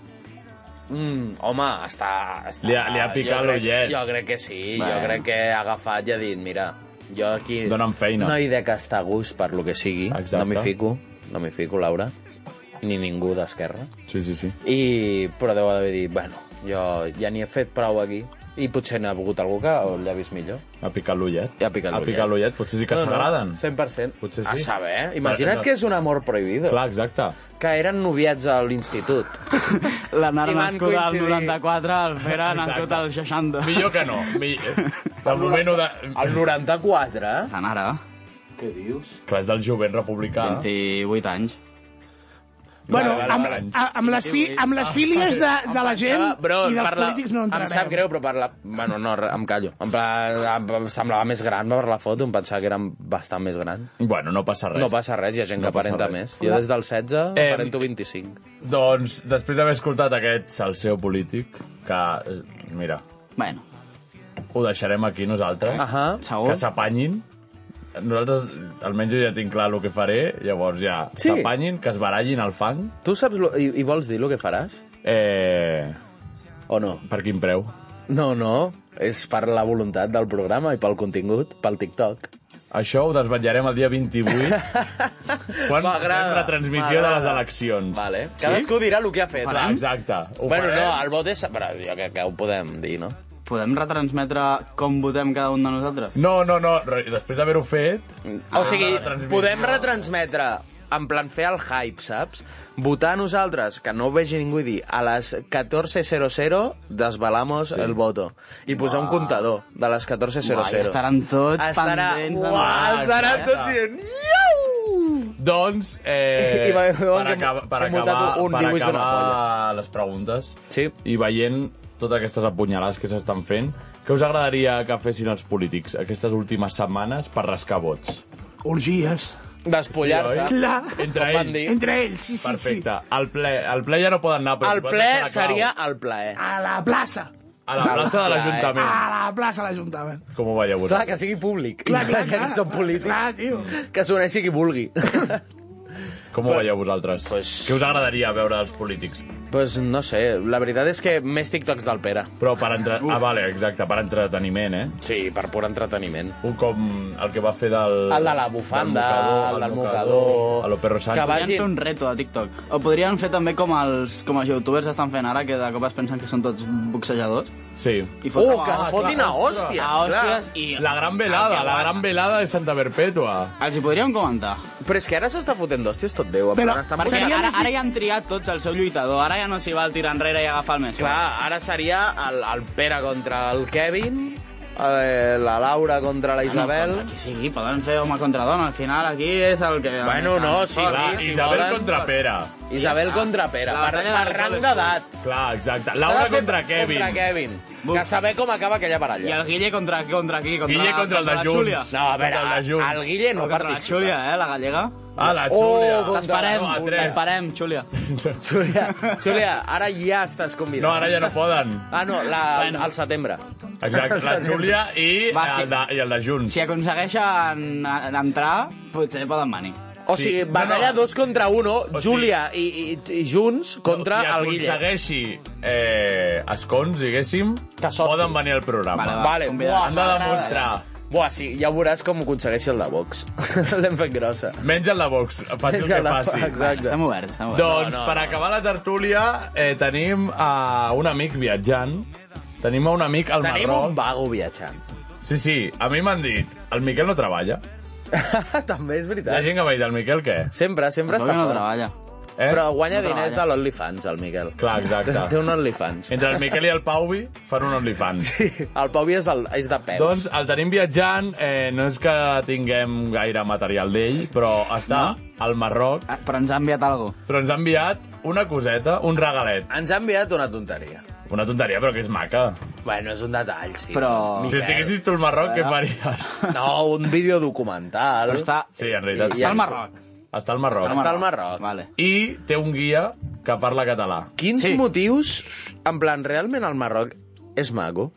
H: Mm, home, està... està
C: Li ha- li ha picat
H: jo crec-
C: l'ullet.
H: Jo crec que sí,
C: Bueno.
H: jo crec que ha agafat i ha dit, mira, jo aquí...
C: Dóna'm feina.
H: No hi de que està a gust per lo que sigui. Exacte. No m'hi fico, no m'hi fico, Laura. Ni ningú d'esquerra.
C: Sí, sí, sí.
H: I, però deu haver dit, bueno, jo ja n'hi he fet prou aquí. I potser n'ha volgut algú que l'ha vist millor.
C: Ha picat l'ullet.
H: Ja ha picat
C: Ha
H: l'ullet.
C: picat l'ullet, potser sí que s'agraden.
H: 100%.
C: Potser sí.
H: A saber, imagina't que és un amor prohibido.
C: Clar, exacte.
H: Que eren noviats a l'institut.
J: La
H: I
J: Nara
H: van
J: nascuda al
H: coincidir.
J: 94, el Pere ha nascut al 60.
C: Millor que no.
H: (laughs)
C: Millor... De moment ho de...
H: El 94?
J: La Nara.
C: Ah.
H: Què dius?
C: Clar, és del jovent republicà.
J: 28 anys.
I: Bueno, amb, a- amb, les fi, amb les fílies de, de la gent
H: Bro,
I: i dels
H: Ah, parla-
I: polítics no
H: Em sap
I: entrarem.
H: greu, però parla... Bueno, no, re- em callo. En plan, em- em semblava més gran per la foto, em pensava que era bastant més gran.
C: Bueno, no passa res.
H: No passa res, hi ha gent
C: No
H: que aparenta
C: passa res.
H: més. Jo des del 16
C: Em-
H: aparento 25.
C: Doncs, després d'haver escoltat aquest salseo polític, que, eh, mira...
J: Bueno.
C: Ho deixarem aquí nosaltres.
H: Ahà.
C: Que s'apanyin. Nosaltres, almenys jo ja tinc clar el que faré, llavors ja
H: Sí.
C: s'apanyin, que es barallin al fang.
H: Tu saps lo, i, i vols dir el que faràs?
C: Eh...
H: O no?
C: Per quin preu?
H: No, no, és per la voluntat del programa i pel contingut, pel TikTok.
C: Això ho desvetllarem el dia
H: (laughs)
C: 28, quan fem la transmissió de les
H: m'agrada.
C: eleccions.
H: Vale. Cadascú dirà el que ha fet.
C: Clar,
H: Farem?
C: exacte. Ho
H: bueno,
C: farem.
H: no, el vot és... Però jo crec que ho podem dir, no?
J: Podem retransmetre com votem cada un de nosaltres?
C: No, no, no, re- després d'haver-ho fet...
H: O sigui, podem retransmetre en plan fer el hype, saps? Votar nosaltres, que no ho vegi ningú i dir a les 14.00 desbalamos sí. el voto. I posar un comptador de les 14.00.
J: Uai, estaran tots pendents de
H: Uah,
J: nosaltres,
H: estaran
J: eh?
H: tots dient...
C: Doncs,
I: (laughs)
C: eh,
H: I ve- veuen
C: per,
H: que
C: acab per
H: hem muntat
C: acabar,
H: un
C: per
H: dibuix d'una
C: acabar les preguntes sí. i veient totes aquestes apunyalades que s'estan fent, què us agradaria que fessin els polítics aquestes últimes setmanes per rascar vots?
I: Orgies.
H: Despullar-se.
C: Sí, oi?
I: Clar.
C: Entre
I: Com van
C: ells.
I: dir. Entre ells, sí, sí, sí.
C: Perfecte. El ple, el ple ja no poden anar, però...
I: El
C: vosaltres
I: ple
C: a la clau.
I: seria
H: el plaer.
I: A la plaça.
C: A la plaça de l'Ajuntament.
I: eh? A la plaça de l'Ajuntament.
C: Com ho veieu
H: Clar,
C: vosaltres?
H: que sigui públic.
I: Clar, clar,
H: que
I: clar.
H: són polítics.
I: Clar, tio.
H: (laughs) Que s'uneixi qui vulgui.
C: Com ho veieu vosaltres? Pues... Què us agradaria veure dels polítics?
H: (laughs) Pues no sé, la veritat és que més TikToks del Pere.
C: Però per entre... Ah, vale, exacte, per entreteniment, eh?
H: Sí, per pur entreteniment.
C: Un com el que va fer del...
H: El de la bufanda, el del mocador,
C: A lo Perro Sánchez.
J: Que vagin... fer un reto de TikTok. O podrien fer també com els, com els youtubers estan fent ara, que de cop es pensen que són tots boxejadors.
C: Sí.
J: I foten
C: Oh,
H: Uh, que es
J: a-
H: fotin a
J: ostres,
H: hòsties,
J: A hòsties
H: clar.
J: i...
C: La gran velada, la gran velada de Santa Perpètua.
J: Els hi podríem comentar.
H: Però és que ara s'està fotent d'hòsties tot Déu. en plan, estan
J: perquè
H: fotent-
J: ara, ara ja han triat tots el seu lluitador, ara ja no s'hi va el tirar enrere i agafar el més.
H: Clar, ara seria el, el Pere contra el Kevin, eh, la Laura contra
J: Ah,
H: la Isabel...
J: Aquí sí, poden fer home contra dona. Al final aquí és el que...
H: Bueno, no, sí,
J: Clar,
H: sí, sí,
J: Isabel
H: volen-
J: contra Pere.
H: Isabel contra Pere.
J: La
H: Per,
J: batalla de
H: per
J: les
H: rang
J: soles,
H: d'edat.
C: Clar, exacte.
H: S'ha
C: Laura
H: de fer
C: contra Kevin.
H: Contra Kevin. Que saber com acaba aquella baralla.
J: I el Guille contra, contra qui? Contra,
C: Guille contra el de
J: la
C: Junts.
J: Júlia.
C: No, a veure, Contra el de Junts.
H: el Guille no
J: O contra
H: participa.
J: La Júlia, eh, la gallega.
C: Ah, la Júlia.
H: doncs
J: Oh, T'esperem,
C: no, a tres.
J: t'esperem, Júlia.
H: (laughs) Júlia, Júlia, ara ja estàs convidat.
C: No, ara ja no poden.
H: Ah, no, la, al setembre.
C: Exacte, la Júlia i,
J: Va, sí.
C: el de, i el de Junts.
J: Si aconsegueixen a- entrar, potser poden venir.
H: O sigui, batalla dos contra uno, Júlia i, i, i Junts contra
C: Qui
H: el Guille.
C: aconsegueixi eh, escons, diguéssim, poden venir al programa.
H: Vale, buah,
C: Han de demostrar.
H: Buah, sí, ja veuràs com ho aconsegueixi el de Vox. (laughs) L'hem fet grossa.
C: Menys el de Vox, faci el que faci.
H: Exacte.
J: Estem oberts, estem oberts.
C: Doncs per acabar la tertúlia eh, tenim a un amic viatjant, tenim a un amic al
H: Tenim
C: Marroc.
H: un vago viatjant.
C: Sí, sí, a mi m'han dit, el Miquel no treballa.
H: (laughs) També és veritat.
C: La gent que m'ha dit, el Miquel què?
H: Sempre, sempre
C: El
H: està
C: Miquel no
H: fora.
C: treballa.
H: Eh? Però guanya
C: No
H: diners
C: treballa.
H: de l'OnlyFans, el Miquel.
C: Clar, exacte.
H: (laughs) Té un OnlyFans.
C: Entre el Miquel i el Pauvi fan un OnlyFans.
H: Sí, el Pauvi és, el, és de peu.
C: Doncs el tenim viatjant, eh, no és que tinguem gaire material d'ell, però està no? al Marroc.
J: Eh, Però ens ha enviat algo.
C: Però ens ha enviat una coseta, un regalet.
H: Ens ha enviat una tonteria.
C: Una tonteria, però que és maca.
H: Bueno, és un detall, sí.
C: Però- Si estiguessis tu al Marroc, què faries?
H: No, un vídeo documental.
C: Però està- Sí, en realitat sí. Està al Marroc.
H: Està al Marroc.
J: Vale.
C: I té un guia que parla català.
H: Quins sí. motius... En plan, realment el Marroc és maco?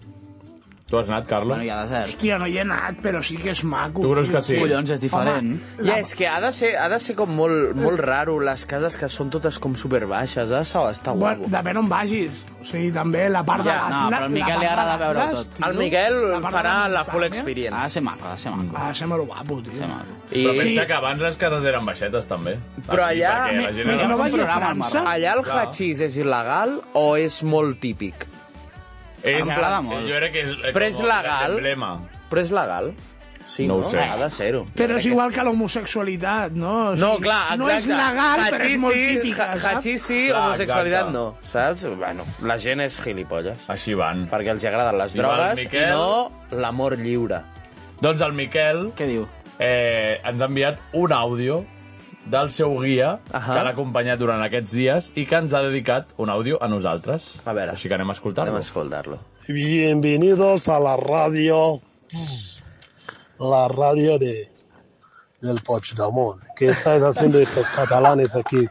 C: Tu has anat, Carlos?
J: Bueno, hi ha desert.
I: Hòstia, no hi he anat, però sí que és maco.
H: Home, ja, és que ha de ser, ha de ser com molt, molt raro les cases que són totes com superbaixes. Ha de ser, està
I: Bueno,
H: guapo.
I: depèn on vagis. O sigui, també la part de... la- la- la part de les dades, tio.
H: El Miquel
I: La Ah, part de
H: farà
I: les
H: la full
I: muntanyes.
H: experience.
J: Ha de ser maco, ha de ser maco.
M: Ah,
I: Ha de ser molt guapo, tio.
C: I... Però
H: I-
C: pensa que abans les cases eren baixetes, també.
H: Però
C: Aquí,
H: allà...
C: perquè la gent era-
H: Allà el
C: Clar.
H: hachís és il·legal o és molt típic?
C: És,
H: Em agrada molt.
C: Jo crec que és, eh,
H: Però és
C: com
H: legal.
C: l'emblema.
H: Però és legal? Sí,
C: No
H: no,
C: ho sé.
H: Ha de ser-ho.
I: Però és igual que l'homosexualitat, no? O
H: No,
I: sigui,
H: clar, exacte.
I: No és legal, però
H: Hachís
I: és molt
H: sí,
I: típica,
H: ha-
I: saps?
H: hachís sí,
C: Clar,
H: homosexualitat
C: exacte.
H: no, saps? Bueno, la gent és gilipolles.
C: Així van.
H: Perquè els agraden les
C: I va el
H: drogues i
C: Miquel.
H: no l'amor lliure.
C: Doncs el Miquel...
J: Què diu?
C: Eh, ens ha enviat un àudio del seu guia
H: Ahà.
C: que l'ha acompanyat durant aquests dies i que ens ha dedicat un àudio a nosaltres. A
H: veure.
C: Així que anem a escoltar-lo.
H: Anem a escoltar-lo.
M: Bienvenidos a la radio, la radio de, del Potsdamón. ¿Qué estáis haciendo estos catalanes aquí?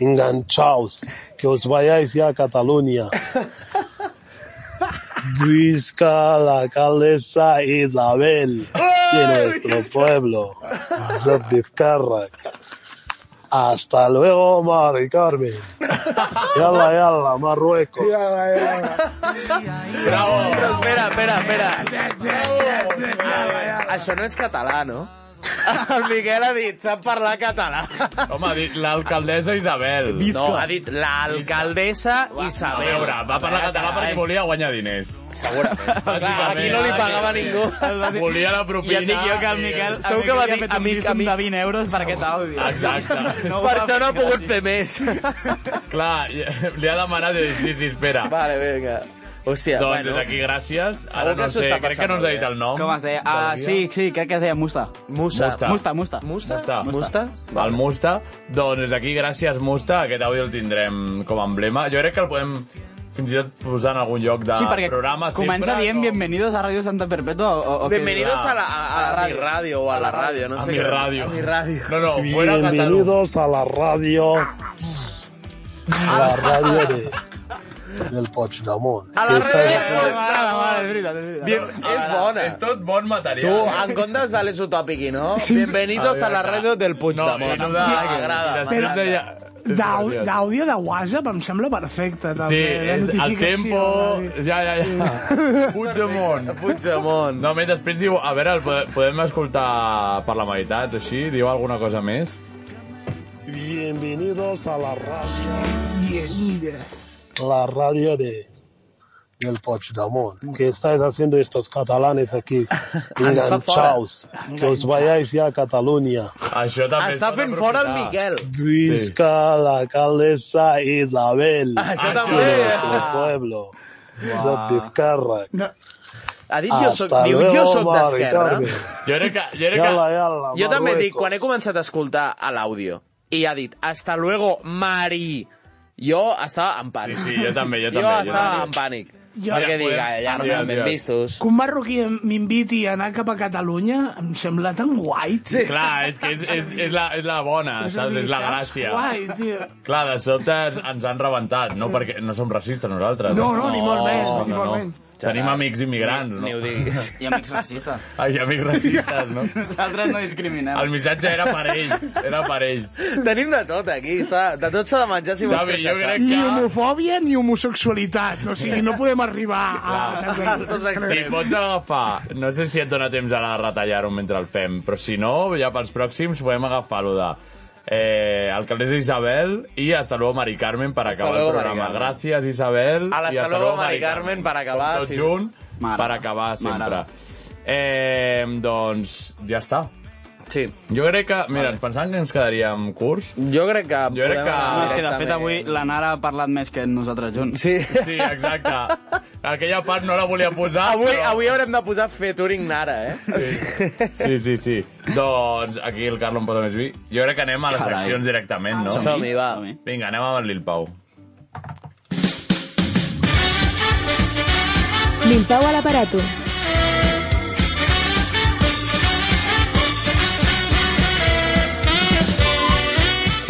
M: Enganchaos, que os vayáis ya a Cataluña. Busca la calesa Isabel de nuestro pueblo, de Vizcarra. Hasta luego, Mari Carmen. Yala, yala, Marruecos.
H: Bravo! Però espera, espera, espera. Això no és català, no? El Miquel ha dit, sap parlar català.
C: Home, ha dit l'alcaldessa Isabel.
H: No, ha dit l'alcaldessa Isabel.
C: A veure, va parlar català perquè volia guanyar diners.
H: Segurament.
C: Bàsicament.
H: Aquí no li pagava ningú.
C: Volia la propina.
J: Ja et dic jo
C: eh,
J: que el Miquel, el
H: Segur que va dir,
J: Miquel ha fet un
H: amic,
J: disc
H: amic.
J: de 20 euros per aquest àudio.
C: Ah, Exacte.
J: (laughs) No ho
H: per
J: va
H: això (laughs) no ha
J: fer
H: pogut fer més.
C: Clar, i- li ha demanat i ha dit, sí, sí, espera.
H: (laughs) Vale, vinga. Hòstia,
C: doncs
H: bueno.
C: des d'aquí gràcies. Ara
H: Segur que
C: no
H: s'ho
C: sé,
H: està
C: crec que no
H: passant
C: ens ha
H: molt
C: dit
H: bé.
C: el nom.
J: Com es deia? Ah,
C: del
J: sí, sí, crec que es deia Musta.
H: Musta.
J: Musta, Musta.
H: Musta?
C: Musta? El Musta. Doncs des d'aquí, gràcies, Musta. Aquest àudio el tindrem com a emblema. Jo crec que el podem fins i tot posar en algun lloc de
J: sí, perquè
C: programa.
J: comença
C: sempre,
J: dient
C: com-
J: bienvenidos a Radio Santa Perpetua. O, o, o
H: Bienvenidos
J: què?
H: a la, a, a, mi ràdio o a la ràdio,
J: (laughs)
H: no
J: Eh,
C: A
H: sé
C: mi
H: què.
C: ràdio.
H: A mi ràdio.
C: No, no, fuera Catalunya.
M: Bienvenidos a la radio, la radio de, del Potsdamón.
H: A la
M: Que estáis
H: ràdio.
M: haciendo-
H: Bien, és bona.
C: És tot bon material. eh?
H: Tu, en comptes de les utòpiqui, no? Bienvenidos a la ràdio del Puigdemont.
C: Ah,
H: em
C: No, i no de- i
H: m'agrada.
C: després
H: m'agrada.
C: deia-
I: D'au- D'àudio de WhatsApp em sembla perfecte,
C: Sí,
I: també.
C: és,
I: la
C: el
I: notificació,
C: tempo...
I: sí.
C: Ja, ja, ja.
H: (laughs)
C: Puigdemont.
H: Puigdemont.
C: No, més després diu... A veure, el pode- podem escoltar per la meitat, així? Diu alguna cosa més?
M: Bienvenidos a la radio, la radio de, del Potsdamón. ¿Qué estáis haciendo estos catalanes
C: (laughs)
M: aquí? Enganchaos, que os vayáis ya a Cataluña.
C: Això també es
H: Està
C: pot
H: fent fora el
C: aprofitar.
H: Miquel.
M: Visca la calesa Isabel.
I: Ah.
C: Ah,
H: Això
M: de
H: també. eh?
M: nuestro pueblo. Wow.
I: No.
H: Ha dit jo soc,
M: Hasta
H: diu, jo
M: luego,
H: soc
M: Mari
H: d'esquerra.
M: Carmen.
C: Jo crec que... Jo, crec que...
M: Yala, yala,
H: jo també
M: Marruecos.
H: dic, quan he començat a escoltar a l'àudio i ha dit, hasta luego, Mari, jo estava en pànic.
C: Sí, sí, jo també, jo
H: Jo
C: també, jo
H: estava
C: també.
H: en pànic.
C: Jo-
H: perquè dic,
C: Podem-
H: "Ah, ja no
C: Adiós,
H: estan ben
C: adiós.
H: vistos.
I: Que un marroquí m'inviti a anar cap a Catalunya em sembla tan guai, tio.
C: Sí. Clar, és que és, és, és, la, és la bona,
I: És a
C: saps?
I: dir,
C: És la
I: saps?
C: gràcia.
I: Guai,
H: (laughs)
I: tio.
C: Clar, de sobte ens han rebentat, no perquè no som racistes nosaltres.
I: No, no, ni molt menys, ni molt menys.
C: Tenim amics immigrants, no?
H: Ni ho diguis.
J: I amics
H: (laughs)
J: racistes.
C: Ai, amics racistes,
I: (laughs)
C: no?
J: Nosaltres no discriminem.
C: El missatge era per ells, era per ells.
H: Tenim de tot aquí, s'ha- de tot s'ha de menjar si vols
C: Xavi,
H: créixer.
C: jo crec
I: Ni
H: saps?
I: homofòbia ni homosexualitat. O sigui, no podem arribar a...
C: Si pots agafar, no sé si et dóna temps ara de retallar-ho mentre el fem, però si no, ja pels pròxims podem agafar lo de eh, alcaldessa Isabel i hasta luego Mari Carmen per acabar
H: luego,
C: el
H: Mari
C: programa.
H: Carmen.
C: Gràcies Isabel
H: A l'hasta luego, Mari Carmen, per acabar,
C: Tot
H: Ah, sí.
C: junt,
H: Mare.
C: per acabar sempre.
H: Mare.
C: Eh, doncs ja està.
H: Sí.
C: Jo crec que, mira, ens pensàvem que ens quedaríem curts.
H: Jo crec que...
C: Jo crec que...
J: No, Ah, és que de fet avui la Nara ha parlat més que nosaltres junts.
H: Sí. (laughs)
C: Sí, exacte. Aquella part no la volia posar,
H: Avui,
C: però...
H: avui haurem de posar fer Turing Nara, eh?
C: Sí, sí, sí. Doncs aquí el Carlo em posa més vi. Jo crec que anem a les
H: Carai.
C: seccions directament, no?
H: Som-hi, Som-hi, va.
C: Vinga, anem amb el Lil Pau.
A: Limpeu a l'aparato.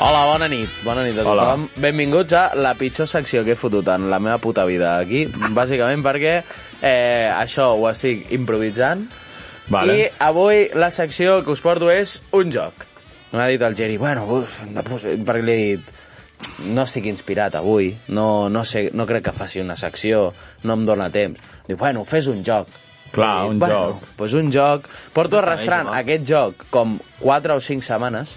H: Hola, bona nit. Bona nit a
C: Hola.
H: tothom. Benvinguts a la pitjor secció que he fotut en la meva puta vida aquí, bàsicament perquè eh, això ho estic improvisant.
C: Vale.
H: I avui la secció que us porto és un joc. M'ha dit el Geri, bueno, uf, hem de posar-" perquè li he dit no estic inspirat avui, no, no, sé, no crec que faci una secció, no em dóna temps. Diu, bueno, fes un joc.
C: Clar,
H: I,
C: un
H: bueno,
C: joc.
H: Pues un joc. Porto
J: Carai,
H: arrastrant
J: Joan.
H: aquest joc com 4 o 5 setmanes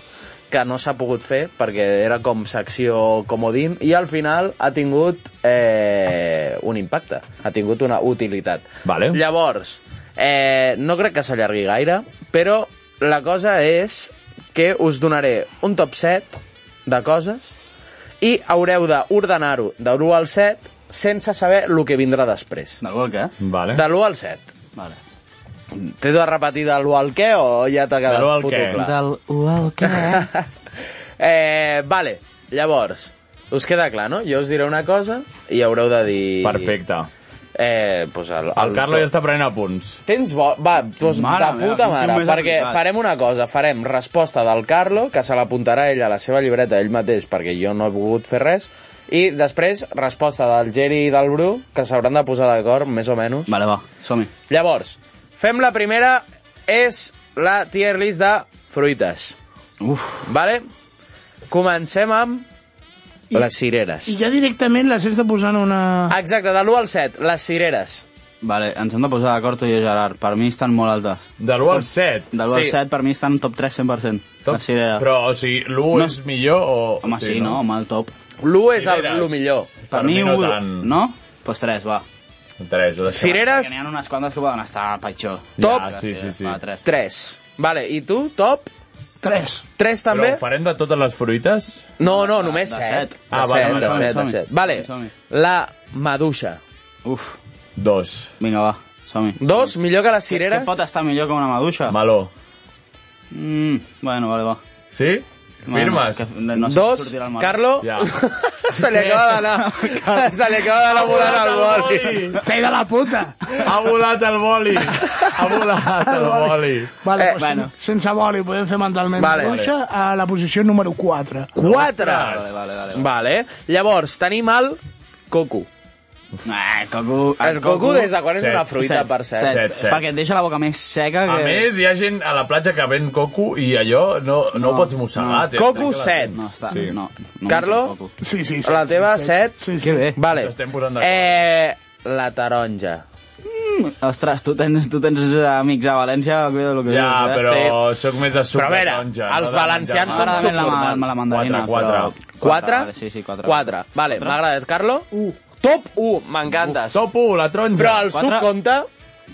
H: que no s'ha pogut fer perquè era com secció comodín i al final ha tingut eh, un impacte, ha tingut una utilitat.
C: Vale.
H: Llavors, eh, no crec que s'allargui gaire, però la cosa és que us donaré un top 7 de coses i haureu d'ordenar-ho de l'1 al 7 sense saber el que vindrà després.
J: De l'1 al què?
H: Mm.
C: Vale.
H: De l'1 al 7.
J: eh? Vale.
H: T'he de repetir de l'1 al què o ja t'ha quedat
J: l'1 al
H: puto
J: què.
H: clar?
J: Del 1 al què?
H: (laughs) eh, vale, llavors, us queda clar, no? Jo us diré una cosa i haureu de dir...
C: Perfecte.
H: Eh, pues el,
C: El Carlo ja està prenent apunts.
H: Tens bo... Va, doncs
C: Mare
H: de
C: meva,
H: puta
C: quin
H: mare,
C: tio més
H: perquè
C: aplicat.
H: farem una cosa, farem resposta del Carlo, que se l'apuntarà ell a la seva llibreta ell mateix, perquè jo no he volgut fer res, i després resposta del Geri i del Bru, que s'hauran de posar d'acord, més o menys.
J: (laughs) Vale, va, som-hi.
H: Llavors, fem la primera, és la tier list de fruites. Uf. Vale? Comencem amb les cireres.
I: I ja directament les has de posar en una...
H: Exacte, de l'1 al 7, les cireres.
J: Vale, ens hem de posar d'acord tu i jo, Gerard. Per mi estan molt altes.
C: De l'1 al 7?
J: De l'1 al
C: Sí.
J: 7 per mi estan top 3 100%. Top?
C: Però, o sigui, l'1
J: No.
C: és millor o...
J: Home, sí, no? Home, el top.
H: L'1
C: és el- Cireres. lo millor.
J: Per,
C: Per
J: mi,
C: mi no
J: un-
C: tant.
J: No? Doncs pues 3, va.
C: 3, ho deixem.
H: Cireres?
J: Perquè n'hi ha unes quantes que poden estar pitjor.
H: Top?
C: Ja, sí, sí, sí.
J: Va, 3.
H: 3. Vale, i tu, top?
I: 3.
H: 3
C: Però
H: també?
C: ho farem de totes les fruites?
H: No, no, només
J: de
H: 7.
J: set.
C: Ah,
H: de
C: vale,
H: 7,
C: vale,
H: de
C: som-hi,
H: 7, de
J: som-hi.
H: 7. Vale,
J: Som-hi.
H: la maduixa.
J: Uf.
C: 2.
J: Vinga, va, som-hi.
H: Dos, millor que les
J: Què
H: cireres?
J: pot estar millor que una maduixa?
C: Meló.
J: Mm, bueno, vale, va.
C: Sí? Firmes?
J: que no sé
H: Dos,
J: si sortirà el meló.
H: Carlo,
C: Ja.
H: (laughs) se li acaba
J: (laughs)
H: d'anar se li acaba d'anar volant el boli. Eh,
I: Sei de la puta!
C: Ha volat el boli! Ha volat el boli!
I: Vale,
H: Eh,
I: eh, pues,
H: bueno.
I: bueno. sense boli, podem fer mentalment
H: Vale.
I: vale, maduixa a la posició número 4.
H: 4.
C: Ostres. Vale, vale, vale.
H: Vale. Llavors, tenim el coco.
J: Ah, el coco...
H: El coco des de quan és
C: Set.
H: una fruita,
J: Set,
H: per cert.
J: set,
C: Set, set.
J: Perquè et deixa la boca més seca
C: A
J: que...
C: més, hi ha gent a la platja que ven coco i allò no, no, no ho pots mossegar. No.
H: Coco, set.
J: No, està,
C: Sí.
J: no. no
H: Carlo?
J: em sento coco.
I: Sí, sí, sí.
H: La teva, set?
I: Sí, sí.
J: Que bé.
H: Vale.
C: Ens estem posant d'acord.
H: Eh, la taronja.
J: Ostres, tu tens, tu tens amics a València, cuida el que
C: Ja,
J: dius, eh?
C: però
H: Sí.
C: sóc més de suc
H: Però a
C: de
H: veure,
C: taronja,
H: els
C: no de
H: valencians
C: menjar
H: són
C: mal.
J: M'agrada més em la, ma,
H: subnormals.
J: la mandarina,
C: Quatre,
J: però...
C: quatre.
H: 4?
J: vale, Sí, sí, 4.
H: 4. Vale, m'ha agradat. Carlo? 1. Top 1, m'encanta.
C: Top 1, la taronja.
H: Però el
J: Quatre.
H: suc compta...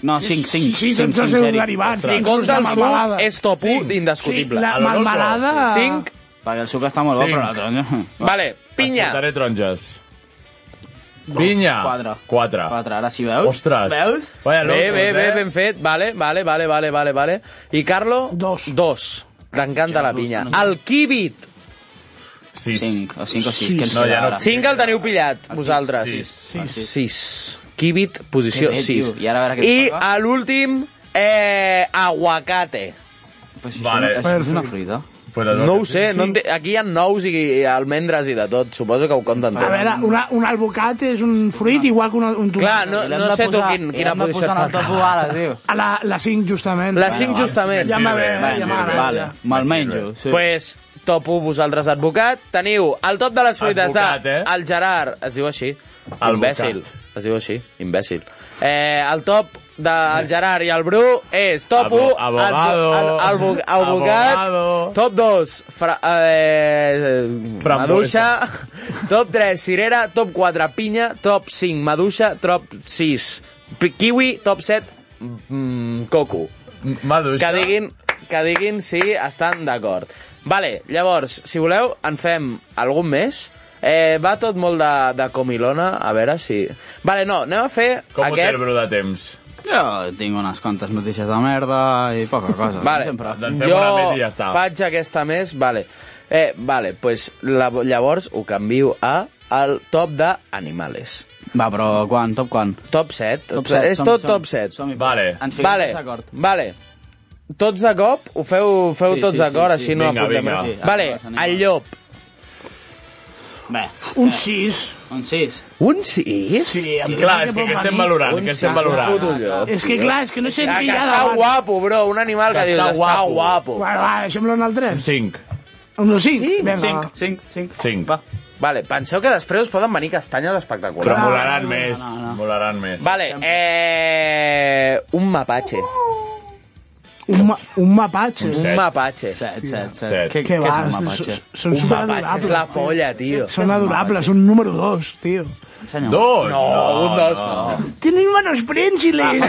J: No, 5, 5.
I: Sí, sense els seus derivats.
H: Si
I: sense
H: compta
I: la
H: el suc,
I: melmelada.
H: és top 1
C: Sí.
H: indiscutible.
I: Sí, la
C: A lo loco.
I: melmelada...
H: Cinc.
J: Perquè el suc està molt bo,
C: Cinc.
J: però la taronja...
H: Vale,
C: Et
H: pinya.
C: portaré taronges. Vinya.
J: Quatre.
C: Quatre.
J: Quatre, ara sí, veus?
C: Ostres.
J: Veus?
C: Vaya,
H: bé,
C: locos,
H: bé, bé,
C: eh?
H: ben fet. Vale, vale, vale, vale, vale, vale. I Carlo? Dos. Dos. T'encanta la pinya. El quibit.
C: Sis.
J: Cinc, o cinc o sis,
H: Sis.
J: que ens
H: No, ja
J: queda
H: no.
C: Ah,
J: ara.
H: Cinc el teniu pillat,
J: El
H: vosaltres.
J: Sis.
H: Sis.
J: Sis.
H: Sis. Quibit, posició
J: Què bé,
H: 6.
J: tio, i ara a veure què
H: I
J: ens
H: a l'últim, eh, aguacate.
J: Pues això
C: Vale.
J: no- això és una fruita.
H: No ho sé, no en té- aquí hi ha nous i almendres i de tot, suposo que ho compten tot.
I: A veure, una, un albocat és un fruit igual que un, un tomàquet.
H: Clar, no- I l'hem no de sé tu posar- quin- i quina l'hem de posició posar en et fa. el top o ala, tio.
I: A la, la 5, justament.
H: La 5 justament.
I: Ja m'ha bé,
H: Vale,
I: ja m'ha bé.
H: Vale, me'l menjo. Sí. Pues top 1, vosaltres, advocat. Teniu el top de les fruites
C: Advocat,
H: de...
C: eh?
H: El Gerard, es diu així.
C: Advocat.
H: Imbècil. Es diu així, imbècil. Eh, el top del Gerard i el Bru és top
C: Abo-
H: 1,
C: abogado.
H: advocat, top 2, fra, eh, eh, maduixa, top 3, cirera, top 4, pinya, top 5, maduixa, top 6, pi- kiwi, top 7, mm, coco.
C: Maduixa.
H: Que diguin, que diguin si estan d'acord. Vale, llavors, si voleu, en fem algun més. Eh, va tot molt de, de comilona, a veure si... Vale, no, anem a fer
J: Com ho té
H: aquest...
J: el
C: Bru de temps?
J: Jo tinc unes quantes notícies de merda i poca cosa.
H: Vale,
J: Sempre.
H: faig aquesta més, vale. Eh, vale, pues la, llavors ho canvio a al top de animales.
J: Va, però quan? Top quan?
H: Top 7.
J: Top 7.
H: És tot top 7.
C: Vale.
J: Ens fiquem
H: Vale,
J: tots d'acord.
H: vale. Tots de cop? Ho feu, ho feu
J: Sí,
H: tots
J: sí,
H: d'acord,
J: sí,
H: així
J: sí.
H: no
J: Vinga,
H: apuntem
J: vinga.
H: res.
J: Sí,
H: Vale,
J: animals, animals.
H: el llop.
J: Bé.
I: Un 6.
J: Un 6.
H: Un 6?
I: Sí,
C: Clar,
I: em sembla
C: és que
I: pot
C: què estem
I: venir.
C: valorant?
I: Un
C: Què estem
I: sis.
C: valorant?
I: Puto llop, És que,
C: tio.
I: clar, és que no sé en
H: Ah,
I: què hi
H: que
I: ha
H: Ah, està
I: davant.
H: guapo, bro. Un animal que,
C: Que
H: dius,
C: està
H: està
C: guapo.
H: guapo.
I: Bueno, va, deixem-lo en el 3.
C: 5.
I: Un 5?
H: Cinc?
I: Vinga.
H: Cinc,
J: 5, 5.
C: 5.
J: Va.
H: Vale, penseu que després us poden venir castanyes espectaculars.
C: Però molaran més, molaran més.
H: Vale, eh, un mapatge.
I: Un, ma un mapatge.
H: Un mapatge.
J: Set, set,
H: set.
I: Què va? Són- Són
H: un mapatge
I: superadorables.
H: és la
I: tio.
H: polla, tio.
I: Són adorables, són número 2, tio.
H: Dos? No, un dos no.
I: Tienen manos
J: Ah,
I: prensiles.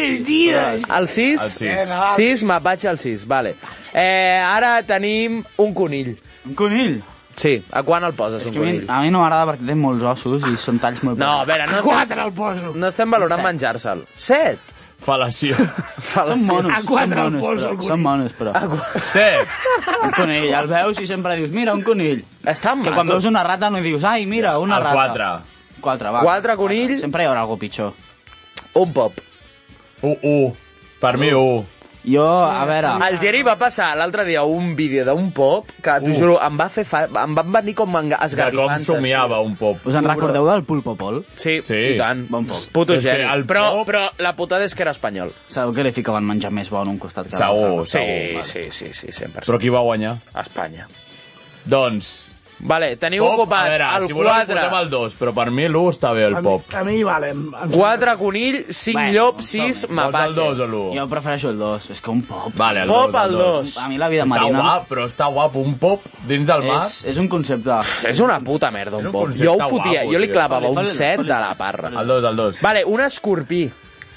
H: El 6?
I: El sis. Vinga, va.
H: 6, mapatge al 6, vale. Eh, ara tenim un conill.
J: Un conill?
H: Sí, a quan el poses,
J: És
H: un
J: que a mi,
H: conill?
J: a mi no m'agrada perquè té molts ossos i són talls molt...
H: No, a veure, no...
I: Quatre el poso.
H: No estem valorant
J: Set.
H: menjar-se'l. 7?
C: Fal·lació.
J: Són monos,
I: A quatre
J: són
I: el
J: monos,
I: poso, el
J: però,
I: conill.
J: són monos, però.
C: Set.
J: Un conill, el veus i sempre dius, mira, un conill.
H: Està
J: Que quan veus una rata no dius, ai, mira, una
C: El
J: rata.
C: quatre.
J: Quatre, va.
H: Quatre conills.
J: Sempre hi haurà algú pitjor.
H: Un pop.
C: Un, un. Per mi, un.
J: Jo, a veure...
H: El Geri va passar l'altre dia un vídeo d'un pop que,
C: Uh.
H: t'ho juro, em va fer... Fa... Em van venir com
C: De
H: enga-
C: com
H: esgarrifantes.
C: somiava un pop.
J: Us en recordeu del pulpopol?
H: Sí, sí, i tant.
J: Bon pop.
H: Puto
J: És que
H: Geri.
J: el
H: Però, però la putada és que era espanyol.
J: Sabeu que li ficaven menjar més bon un costat que
C: Segur,
J: l'altre?
H: Sí,
C: segur,
H: sí, sí, sí, 100%.
C: Però qui va guanyar?
H: Espanya.
C: Doncs...
H: Vale, teniu
C: pop,
H: ocupat
C: a veure,
H: el
C: si voleu
H: 4.
C: portem el 2, però per mi l'1 està bé, el pop.
I: A mi, vale. em- em-
H: 4 conill, 5
J: Bueno,
H: llop,
C: doncs
H: 6
C: Vols
H: mapatge.
C: el 2 o l'1?
J: Jo prefereixo el 2, és que un pop...
C: Vale, el
H: Pop
C: dos, el
H: al
C: dos.
H: dos.
J: A mi la vida
C: està
J: marina...
C: guap, però està guap. Un pop dins del mar.
J: És, és un concepte... Ah,
H: És una puta merda, un
C: un
H: pop.
C: concepte
H: Jo ho fotia,
C: guapo,
H: jo
C: tio.
H: li clavava un
C: Foli, foli,
H: 7 de la parra.
C: El 2, el 2.
H: Vale, un escorpí.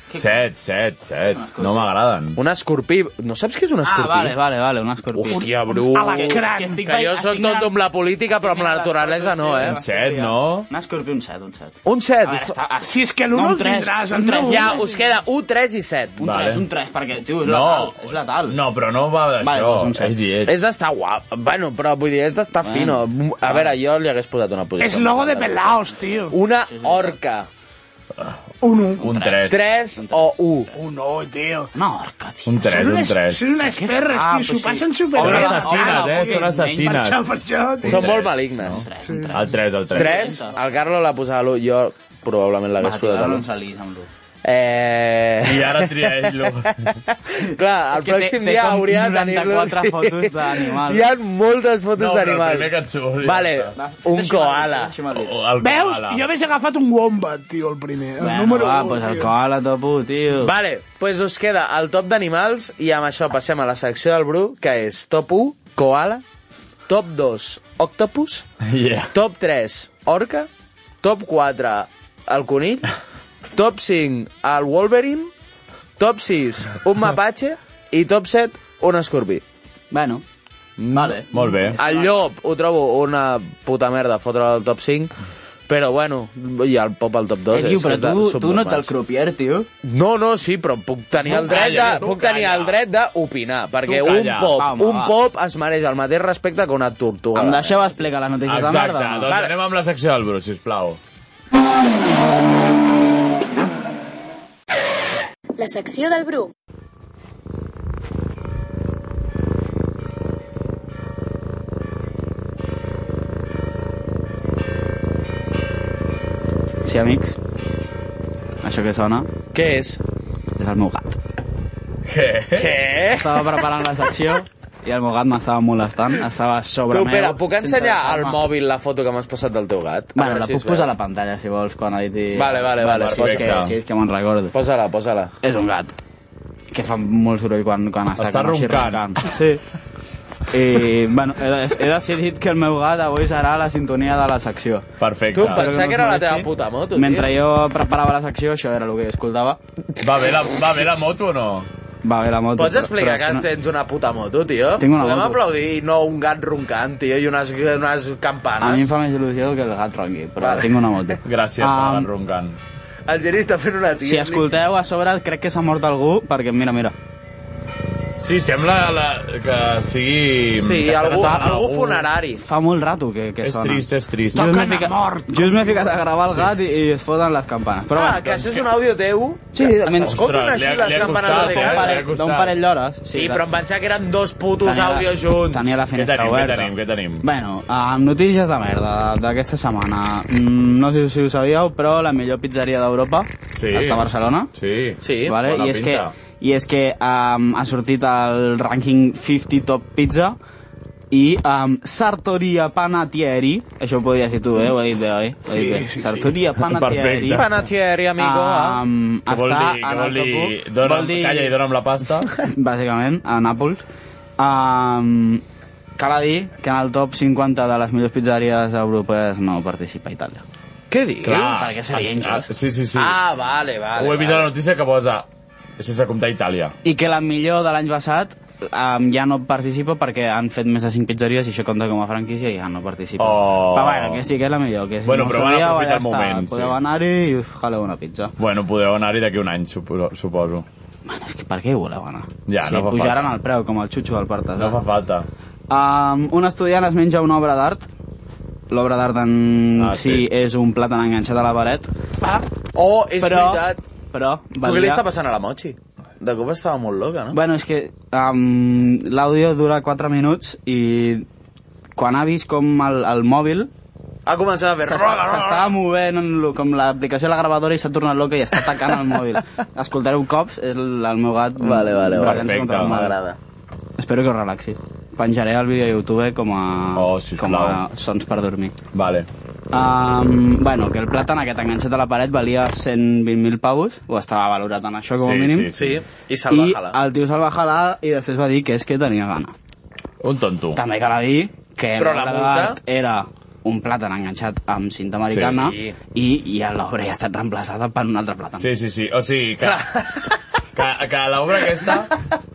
C: 7, 7, 7. No m'agraden.
H: Un escorpí. No saps què és un escorpí?
J: Ah, vale, vale, vale, un escorpí.
H: Hòstia, Bru.
I: Ah, Alacrant.
J: estic
H: Que jo sóc tot amb la política, però amb la naturalesa no, eh?
C: Un 7, no?
J: Un escorpí, un 7, un 7.
H: Un
J: A veure,
H: 7.
J: està... ah,
I: Si és que
J: No,
I: l'un
J: un
I: no, el
J: tres,
I: tindràs,
J: un
I: el
J: tres,
I: nou.
H: Ja, us queda 1, 3 i 7.
J: Un
C: Vale.
J: 3, un 3, perquè, tio,
C: No.
J: és letal, és letal.
C: No, però no va d'això.
J: Vale, doncs un set.
C: és dient.
H: És d'estar guap. Bueno, però vull dir, és d'estar fino. A veure, jo li hagués posat una posició.
I: És logo de
H: més alta.
I: pelaos, tio.
H: Una orca.
I: Un 1.
C: Un 3.
H: 3 o 1.
I: Un 9, tio.
J: Una orca, tio.
C: Un 3,
I: Són
C: un
I: unes,
C: 3.
I: són unes perres,
J: Ah,
I: tio,
J: pues
I: s'ho
J: sí.
I: passen
C: Són
I: superbé.
C: assassines, eh? Són
I: Per
C: assassines.
I: això, per això, tio.
H: Són molt
C: tres,
H: malignes.
C: El 3, el 3.
H: 3, el Carlo l'ha posat a l'1, jo probablement
J: Va,
H: l'hagués
J: tio,
H: posat a
J: ara no
H: l'1.
J: ens alís amb l'1.
H: Eh...
C: I ara tria ell-lo.
J: (laughs)
H: Clar, el
J: És que té-
H: pròxim
J: té
H: dia
J: com
H: hauria de tenir-los...
J: 94 fotos d'animals.
H: Hi ha moltes fotos
C: No, però el
H: d'animals.
C: primer que et surt, ja
H: Vale,
C: està.
H: un koala.
C: O el
I: Veus?
C: koala.
I: Jo hagués agafat un wombat, tio, el primer. El
J: Bueno,
I: número
J: va,
I: 1,
J: pues el
I: tio.
J: koala, topo, tio.
H: Vale, doncs pues us queda el top d'animals i amb això passem a la secció del Bru, que és top 1, koala, top 2, octopus,
C: Yeah.
H: top 3, orca, top 4, el conill, top 5, el wolverine, top 6, un mapatge i top 7, un escorpí.
J: Bueno, vale.
H: Mm,
C: Molt bé.
H: El llop ho trobo una puta merda fotre al top 5 Però bueno, i el pop al top 2
J: Eh, tio, però tu- tu no ets el crupier, tio.
H: No, no, sí, però puc tenir el dret de,
J: calla, tu
H: puc tenir el dret d'opinar, perquè
J: Tu
H: un
J: calla.
H: pop,
J: Va, home,
H: un
J: va.
H: pop es mereix el mateix respecte que una tortuga.
J: Em deixeu explicar les notícies de Tota merda? o no?
C: doncs anem amb la secció del Bru, sisplau.
F: La secció del Bru.
J: Sí, amics? Això que sona?
H: Què és?
J: És el meu gat.
C: Què?
H: Què?
J: Estava preparant la secció i el meu gat m'estava molestant. Estava sobre
H: Tu,
J: meu.
H: espera, puc
J: sense
H: ensenyar al
J: deixar-me.
H: mòbil la foto que m'has passat del teu gat? A
J: Bueno,
H: veure
J: la
H: si
J: puc
H: es veu.
J: posar a la pantalla, si vols, quan editi...
H: Vale, vale, vale,
J: si és que,
H: perfecte.
J: si és que me'n recordo.
H: Posa-la, posa-la.
J: És un gat que fa molt soroll quan, quan està,
C: Està
J: com així
C: roncant.
H: (laughs)
J: Sí. I, bueno, he, de- he decidit que el meu gat avui serà la sintonia de la secció.
C: Perfecte.
H: Tu em pensava que era la teva puta moto, tio.
J: Mentre jo preparava la secció, això era el que escoltava.
C: Va bé la, va bé la moto o no?
J: Va bé la moto.
H: Pots
J: però-
H: explicar
J: però
H: que
J: no-
H: tens una puta moto, tio?
J: Tinc una
H: Podem
J: moto.
H: aplaudir i no un gat roncant, tio, i unes, unes
J: A mi em
H: campanes.
J: fa més il·lusió que el gat ronqui, però tinc una moto.
C: Gràcies
J: Ah.
C: per um... roncant.
H: El Geri està fent una
J: Si escolteu a sobre, crec que s'ha mort algú, perquè mira, mira.
C: Sí, sembla la, que sigui...
H: Sí,
C: que
H: algú-
C: estan atrapant
H: algú funerari.
J: Fa molt rato que, que
C: És
J: sona.
C: trist, és trist.
J: Jo
C: Toquen
J: m'he
C: a
J: ficat,
C: mort.
J: just m'he ficat a gravar el gat i, i es foten les campanes. Però
H: Ah,
J: bueno,
H: que això és un àudio teu?
J: doncs Sí,
H: menys...
J: menys-
H: Escolten
J: Ostres,
H: així
J: li ha-
H: les
J: li ha
H: campanes
J: costat,
H: de
J: eh? D'un parell-
H: gat?
J: d'un parell d'hores.
H: Sí, però em pensava que eren dos putos
J: Tenia la-
H: àudios junts.
J: Tenia la
C: Què
J: finestra
C: tenim, què
J: oberta.
C: tenim, què tenim?
J: Bueno, amb notícies de merda d'aquesta setmana. Mm, No sé si ho sabíeu, però la millor pizzeria d'Europa
C: Sí.
J: està a Barcelona.
C: Sí.
H: Sí,
J: vale?
C: bona
J: I és que,
C: pinta.
J: i és que um, ha sortit el rànquing 50 Top Pizza i um, Sartoria Panatieri, això ho podies dir tu, eh? Ho he dit bé, oi? Ho he dit
C: (laughs)
J: bé. Sartoria Panatieri.
C: Perfecte.
H: Panatieri, amigo. ah.
J: Um,
C: Què vol
J: està
C: dir? Què
J: en
C: vol
J: el top
C: dir?
J: 1.
C: Dona'm,
J: Vol dir-
C: Calla i dona'm la
J: (laughs)
C: pasta.
J: bàsicament, a Nàpols. Um, cal a dir que en el top 50 de les millors pizzeries europees no participa Itàlia.
H: Què dius?
J: perquè seria injust.
C: Sí, sí, sí.
H: Ah, vale, vale.
C: Ho he vist a
H: vale.
C: la notícia que posa sense comptar Itàlia.
J: I que la millor de l'any passat um, ja no participa perquè han fet més de 5 pizzeries i això compta com a franquícia i ja no participa.
C: Oh.
J: Però bueno, que sí que és la millor. Que si
C: Bueno,
J: no ho
C: però van
J: sabíeu,
C: aprofitar
J: ja
C: el moment,
J: Està. Podeu
C: sí.
J: anar-hi i us jaleu una pizza.
C: Bueno, podreu anar-hi d'aquí un any, supo- suposo.
J: Bueno, és que per què hi voleu anar?
C: Ja,
J: si
C: no fa
J: pujaran
C: falta.
J: el preu, com el xutxo del partes.
C: No fa falta.
J: Um, un estudiant es menja una obra d'art. L'obra d'art en
C: Ah,
J: ah, sí.
C: sí.
J: si és un plàtan enganxat a la paret. Ah,
H: Oh, és
J: però,
H: veritat.
J: Però,
H: Tu què li
J: valia...
H: està passant a la Mochi? De cop estava molt loca, no?
J: Bueno, és que um, l'àudio dura 4 minuts i quan ha vist com el, el mòbil
H: Ha començat a fer...
J: s'està- s'estava movent en lo, com l'aplicació de la gravadora i s'ha tornat loca i està atacant el mòbil. Escoltareu cops, és el, el meu gat...
H: Vale, vale, vale.
J: barallant-se
C: Perfecte,
J: contra el mòbil.
H: M'agrada.
J: Espero que us relaxi. Penjaré el vídeo a YouTube com a,
C: Oh, sisplau.
J: com a sons per dormir.
C: Vale.
J: Um, bueno, que el plàtan aquest enganxat a la paret valia 120.000 pavos, o estava valorat en això com a
C: Sí,
J: mínim,
C: sí,
H: Sí, i se'l va
J: i
H: jalar.
J: el tio se'l va jalar i després va dir que és que tenia gana.
C: Un tonto.
J: També cal dir que
H: Però la
J: l'obra
H: multa?
J: d'art era un plàtan enganxat amb cinta americana
H: Sí.
J: i, i l'obra ja ha estat reemplaçada per un altre plàtan.
C: Sí, sí, sí. O sigui, que... Que, que l'obra aquesta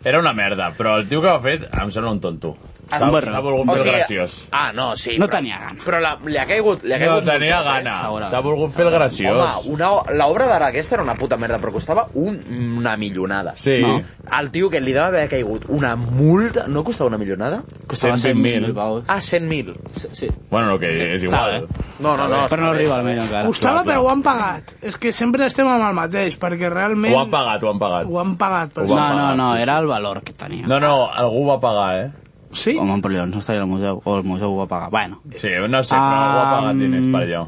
C: era una merda, però el tio que ho ha fet em sembla Ah, un tonto. S'ha
J: barra.
C: s'ha volgut fer el graciós.
H: Ah, no, sí.
J: No
H: però-
J: tenia gana.
H: Però la, li ha caigut... Li ha
C: No
H: caigut
C: tenia
H: molt bé.
C: gana.
J: segurament.
C: eh, S'ha volgut fer el
H: Home,
C: graciós.
H: una, l'obra d'ara aquesta era una puta merda, però costava un, una millonada.
C: Sí.
J: No.
H: El tio que li deu haver caigut una multa... No costava una millonada?
J: Costava
C: 120.000.
J: 120.000 pavos.
H: Ah, 100.000.
J: Sí, sí.
C: Bueno, no, que és igual.
J: Està
H: No, no, no.
J: Però no
H: està bé.
J: arriba al meu encara.
I: Costava,
C: clar, clar.
I: però ho han pagat. És que sempre estem amb el mateix, perquè realment...
C: Ho han pagat, ho han pagat.
I: Ho han pagat. Per
C: Ho
J: No,
I: això.
C: van
J: no,
C: pagar,
J: no,
C: sí,
J: era el valor que tenia.
C: No, no, algú ho va pagar, eh?
I: Sí?
J: Home, però llavors no estaria al museu, o el museu ho va pagar. Bueno,
C: Sí, no sé, però algú ha pagat
J: Ah,
C: diners per allò.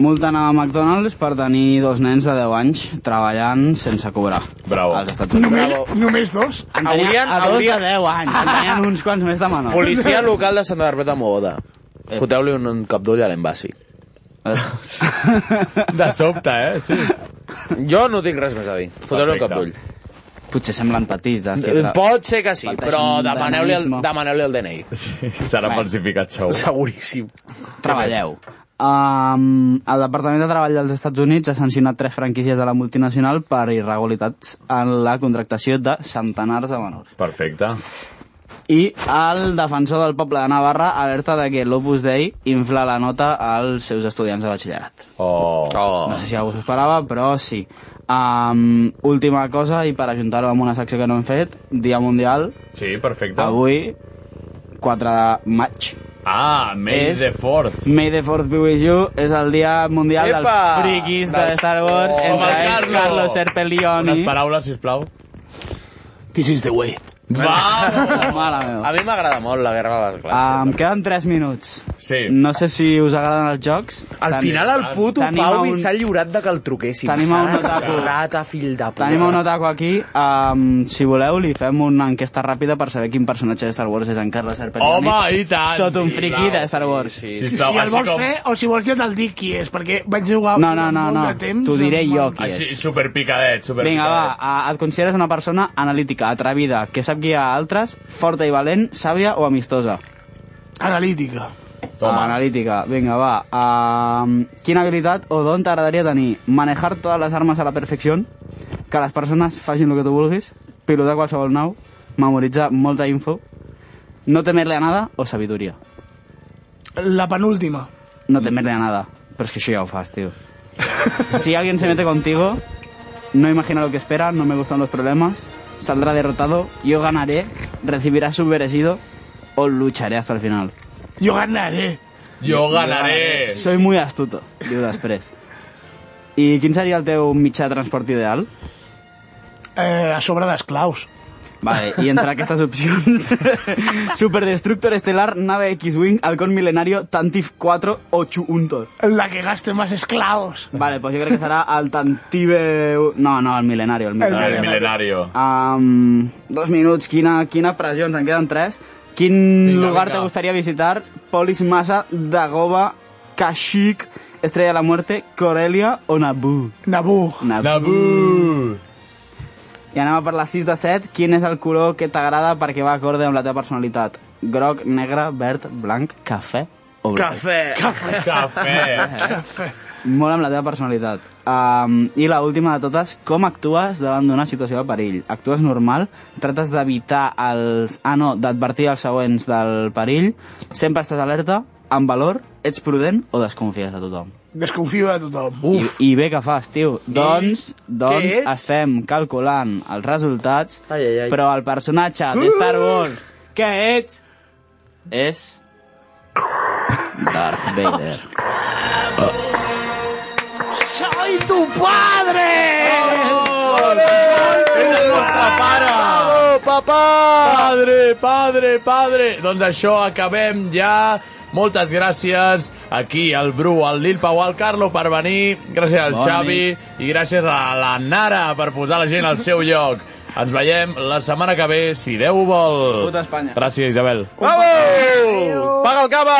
J: Multen a McDonald's per tenir dos nens de 10 anys treballant sense cobrar.
C: Bravo.
J: Als Estats Units.
I: Només, només dos?
J: En tenien
H: Haurien-
J: a dos
H: haurien-
J: de 10 anys, en tenien uns quants més de
H: Ah.
J: menor.
H: Policia local de Santa Barbeta Mogoda. Foteu-li un, un cap d'ull a l'envasi.
C: (laughs)
J: Eh,
C: De sobte, eh? (laughs) Sí.
H: Jo no tinc res més a dir. Foteu-li un
C: Perfecte.
H: cap d'ull.
J: Potser semblen petits, eh? que
H: Eh,
J: tra-
H: Pot ser que sí,
J: Falta
H: però
J: gent
H: demaneu-li el,
J: d'analisme.
H: demaneu el DNI.
C: Serà falsificat, segur.
H: (laughs)
C: (laughs)
H: Seguríssim.
J: Treballeu. Um, el Departament de Treball dels Estats Units ha sancionat tres franquícies de la multinacional per irregularitats en la contractació de centenars de menors.
C: Perfecte.
J: i el defensor del poble de Navarra alerta de que l'Opus Dei infla la nota als seus estudiants de batxillerat.
C: Oh.
J: oh. No sé si algú s'ho esperava, però sí. Um, última cosa, i per ajuntar-ho amb una secció que no hem fet, Dia Mundial.
C: Sí, perfecte.
J: Avui, 4 de maig.
C: Ah, May
J: És-
C: the Fourth.
J: May the 4th be with you és el dia mundial
C: Epa!
J: dels friquis de
C: Dels-
J: Star Wars
C: Oh,
J: entre
C: home,
J: ells
C: Carlo!
J: Carlos Serpellioni.
C: Unes paraules, sisplau.
J: This is the way.
C: Vamos!
J: (laughs) Mare meva.
H: A mi m'agrada molt la guerra de les classes.
J: Ah, Em queden 3 minuts.
C: Sí.
J: No sé si us agraden els jocs.
H: Al
J: Ten-
H: final el puto
J: tenim a
H: Pau
J: un-
H: un... s'ha lliurat de que el truquéssim.
J: Tenim a un otaku.
H: Rata, fill de puta.
J: Tenim a un otaku aquí. Um, si voleu, li fem una enquesta ràpida per saber quin personatge de Star Wars és en Carles Serpelloni.
C: Home, i tant,
J: Tot un
C: sí,
J: friqui
C: clar,
J: de Star Wars. Sí,
I: Si, si el vols fer, o si vols jo te'l dic qui és, perquè vaig jugar
J: No, no, no,
I: molt
J: no.
I: de temps.
J: T'ho diré jo qui
C: Així,
J: ets.
C: superpicadet, superpicadet.
J: Vinga, va, a- et consideres una persona analítica, atrevida, que sap guiar a altres, forta i valent, sàvia o amistosa?
I: Analítica.
J: Toma. Analítica, vinga, va. Uh, quina habilitat o d'on t'agradaria tenir? Manejar totes les armes a la perfecció, que les persones facin el que tu vulguis, pilotar qualsevol nau, memoritzar molta info, no temer-le a nada o sabidoria.
I: La penúltima.
J: No temerle a nada. Pero es que eso ya lo fas, tío. Si alguien se mete contigo, no imagina lo que espera, no me gustan los problemas, saldrá derrotado, yo ganaré, recibirá su merecido o lucharé hasta el final.
I: Jo ganaré.
C: Jo ganaré.
J: Soy muy astuto, diu després. I quin seria el teu mitjà de transport ideal?
I: Eh, a sobre d'esclaus.
J: Vale, i entre aquestes opcions... (laughs) Superdestructor estelar, nave X-Wing, halcón milenario, Tantif 4 o Chuuntor.
I: La que gaste más esclaus.
J: Vale, pues yo creo que será al Tantive... No, no, al milenario. El milenario.
C: El milenario.
J: Um, dos minuts, quina, quina pressió, ens en queden tres. Quin
C: Vinga,
J: lugar
C: vinga.
J: te gustaría visitar? Polis Massa, Dagoba, Kashyyyk, Estrella de la Muerte, Corelia o Naboo?
I: Naboo.
J: (laughs) Naboo. I anem a per la 6 de 7. Quin és el color que t'agrada perquè va acorde amb la teva personalitat? Groc, negre, verd, blanc, cafè o blau?
H: Cafè. Cafè.
I: Cafè.
J: Molt amb la teva personalitat. Um, I la última de totes, com actues davant d'una situació de perill? Actues normal? Trates d'evitar els... Ah, no, d'advertir els següents del perill? Sempre estàs alerta? Amb valor? Ets prudent o desconfies de tothom?
I: Desconfio de tothom.
J: I, I bé que fas, tio. Doncs,
I: què
J: doncs
I: ets?
J: estem calculant els resultats, ai, ai, ai. però el personatge de
I: Uh!
J: Star Wars que ets és...
I: (laughs)
J: Darth Vader.
I: ¡Soy tu padre!
C: Papà! Papà! Padre, padre, padre! Doncs això, acabem ja. Moltes gràcies aquí al Bru, al Lil Pau, al Carlo per venir. Gràcies al
N: Bona
C: Xavi i gràcies a la Nara per posar la gent al seu lloc. Ens veiem la setmana que ve, si Déu ho vol.
J: Puta Espanya.
C: Gràcies, Isabel.
H: Bravo! Paga el cava!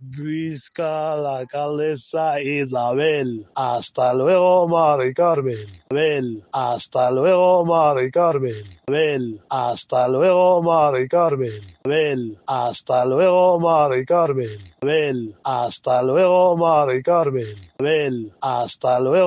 M: Visca la alcaldesa Isabel. Hasta luego, Mari Carmen. Isabel. Hasta luego, Mari Carmen. Isabel. Hasta luego, Mari Carmen. Isabel. Hasta luego, Mari Carmen. Isabel. Hasta luego, Mari Carmen. Isabel. Hasta luego.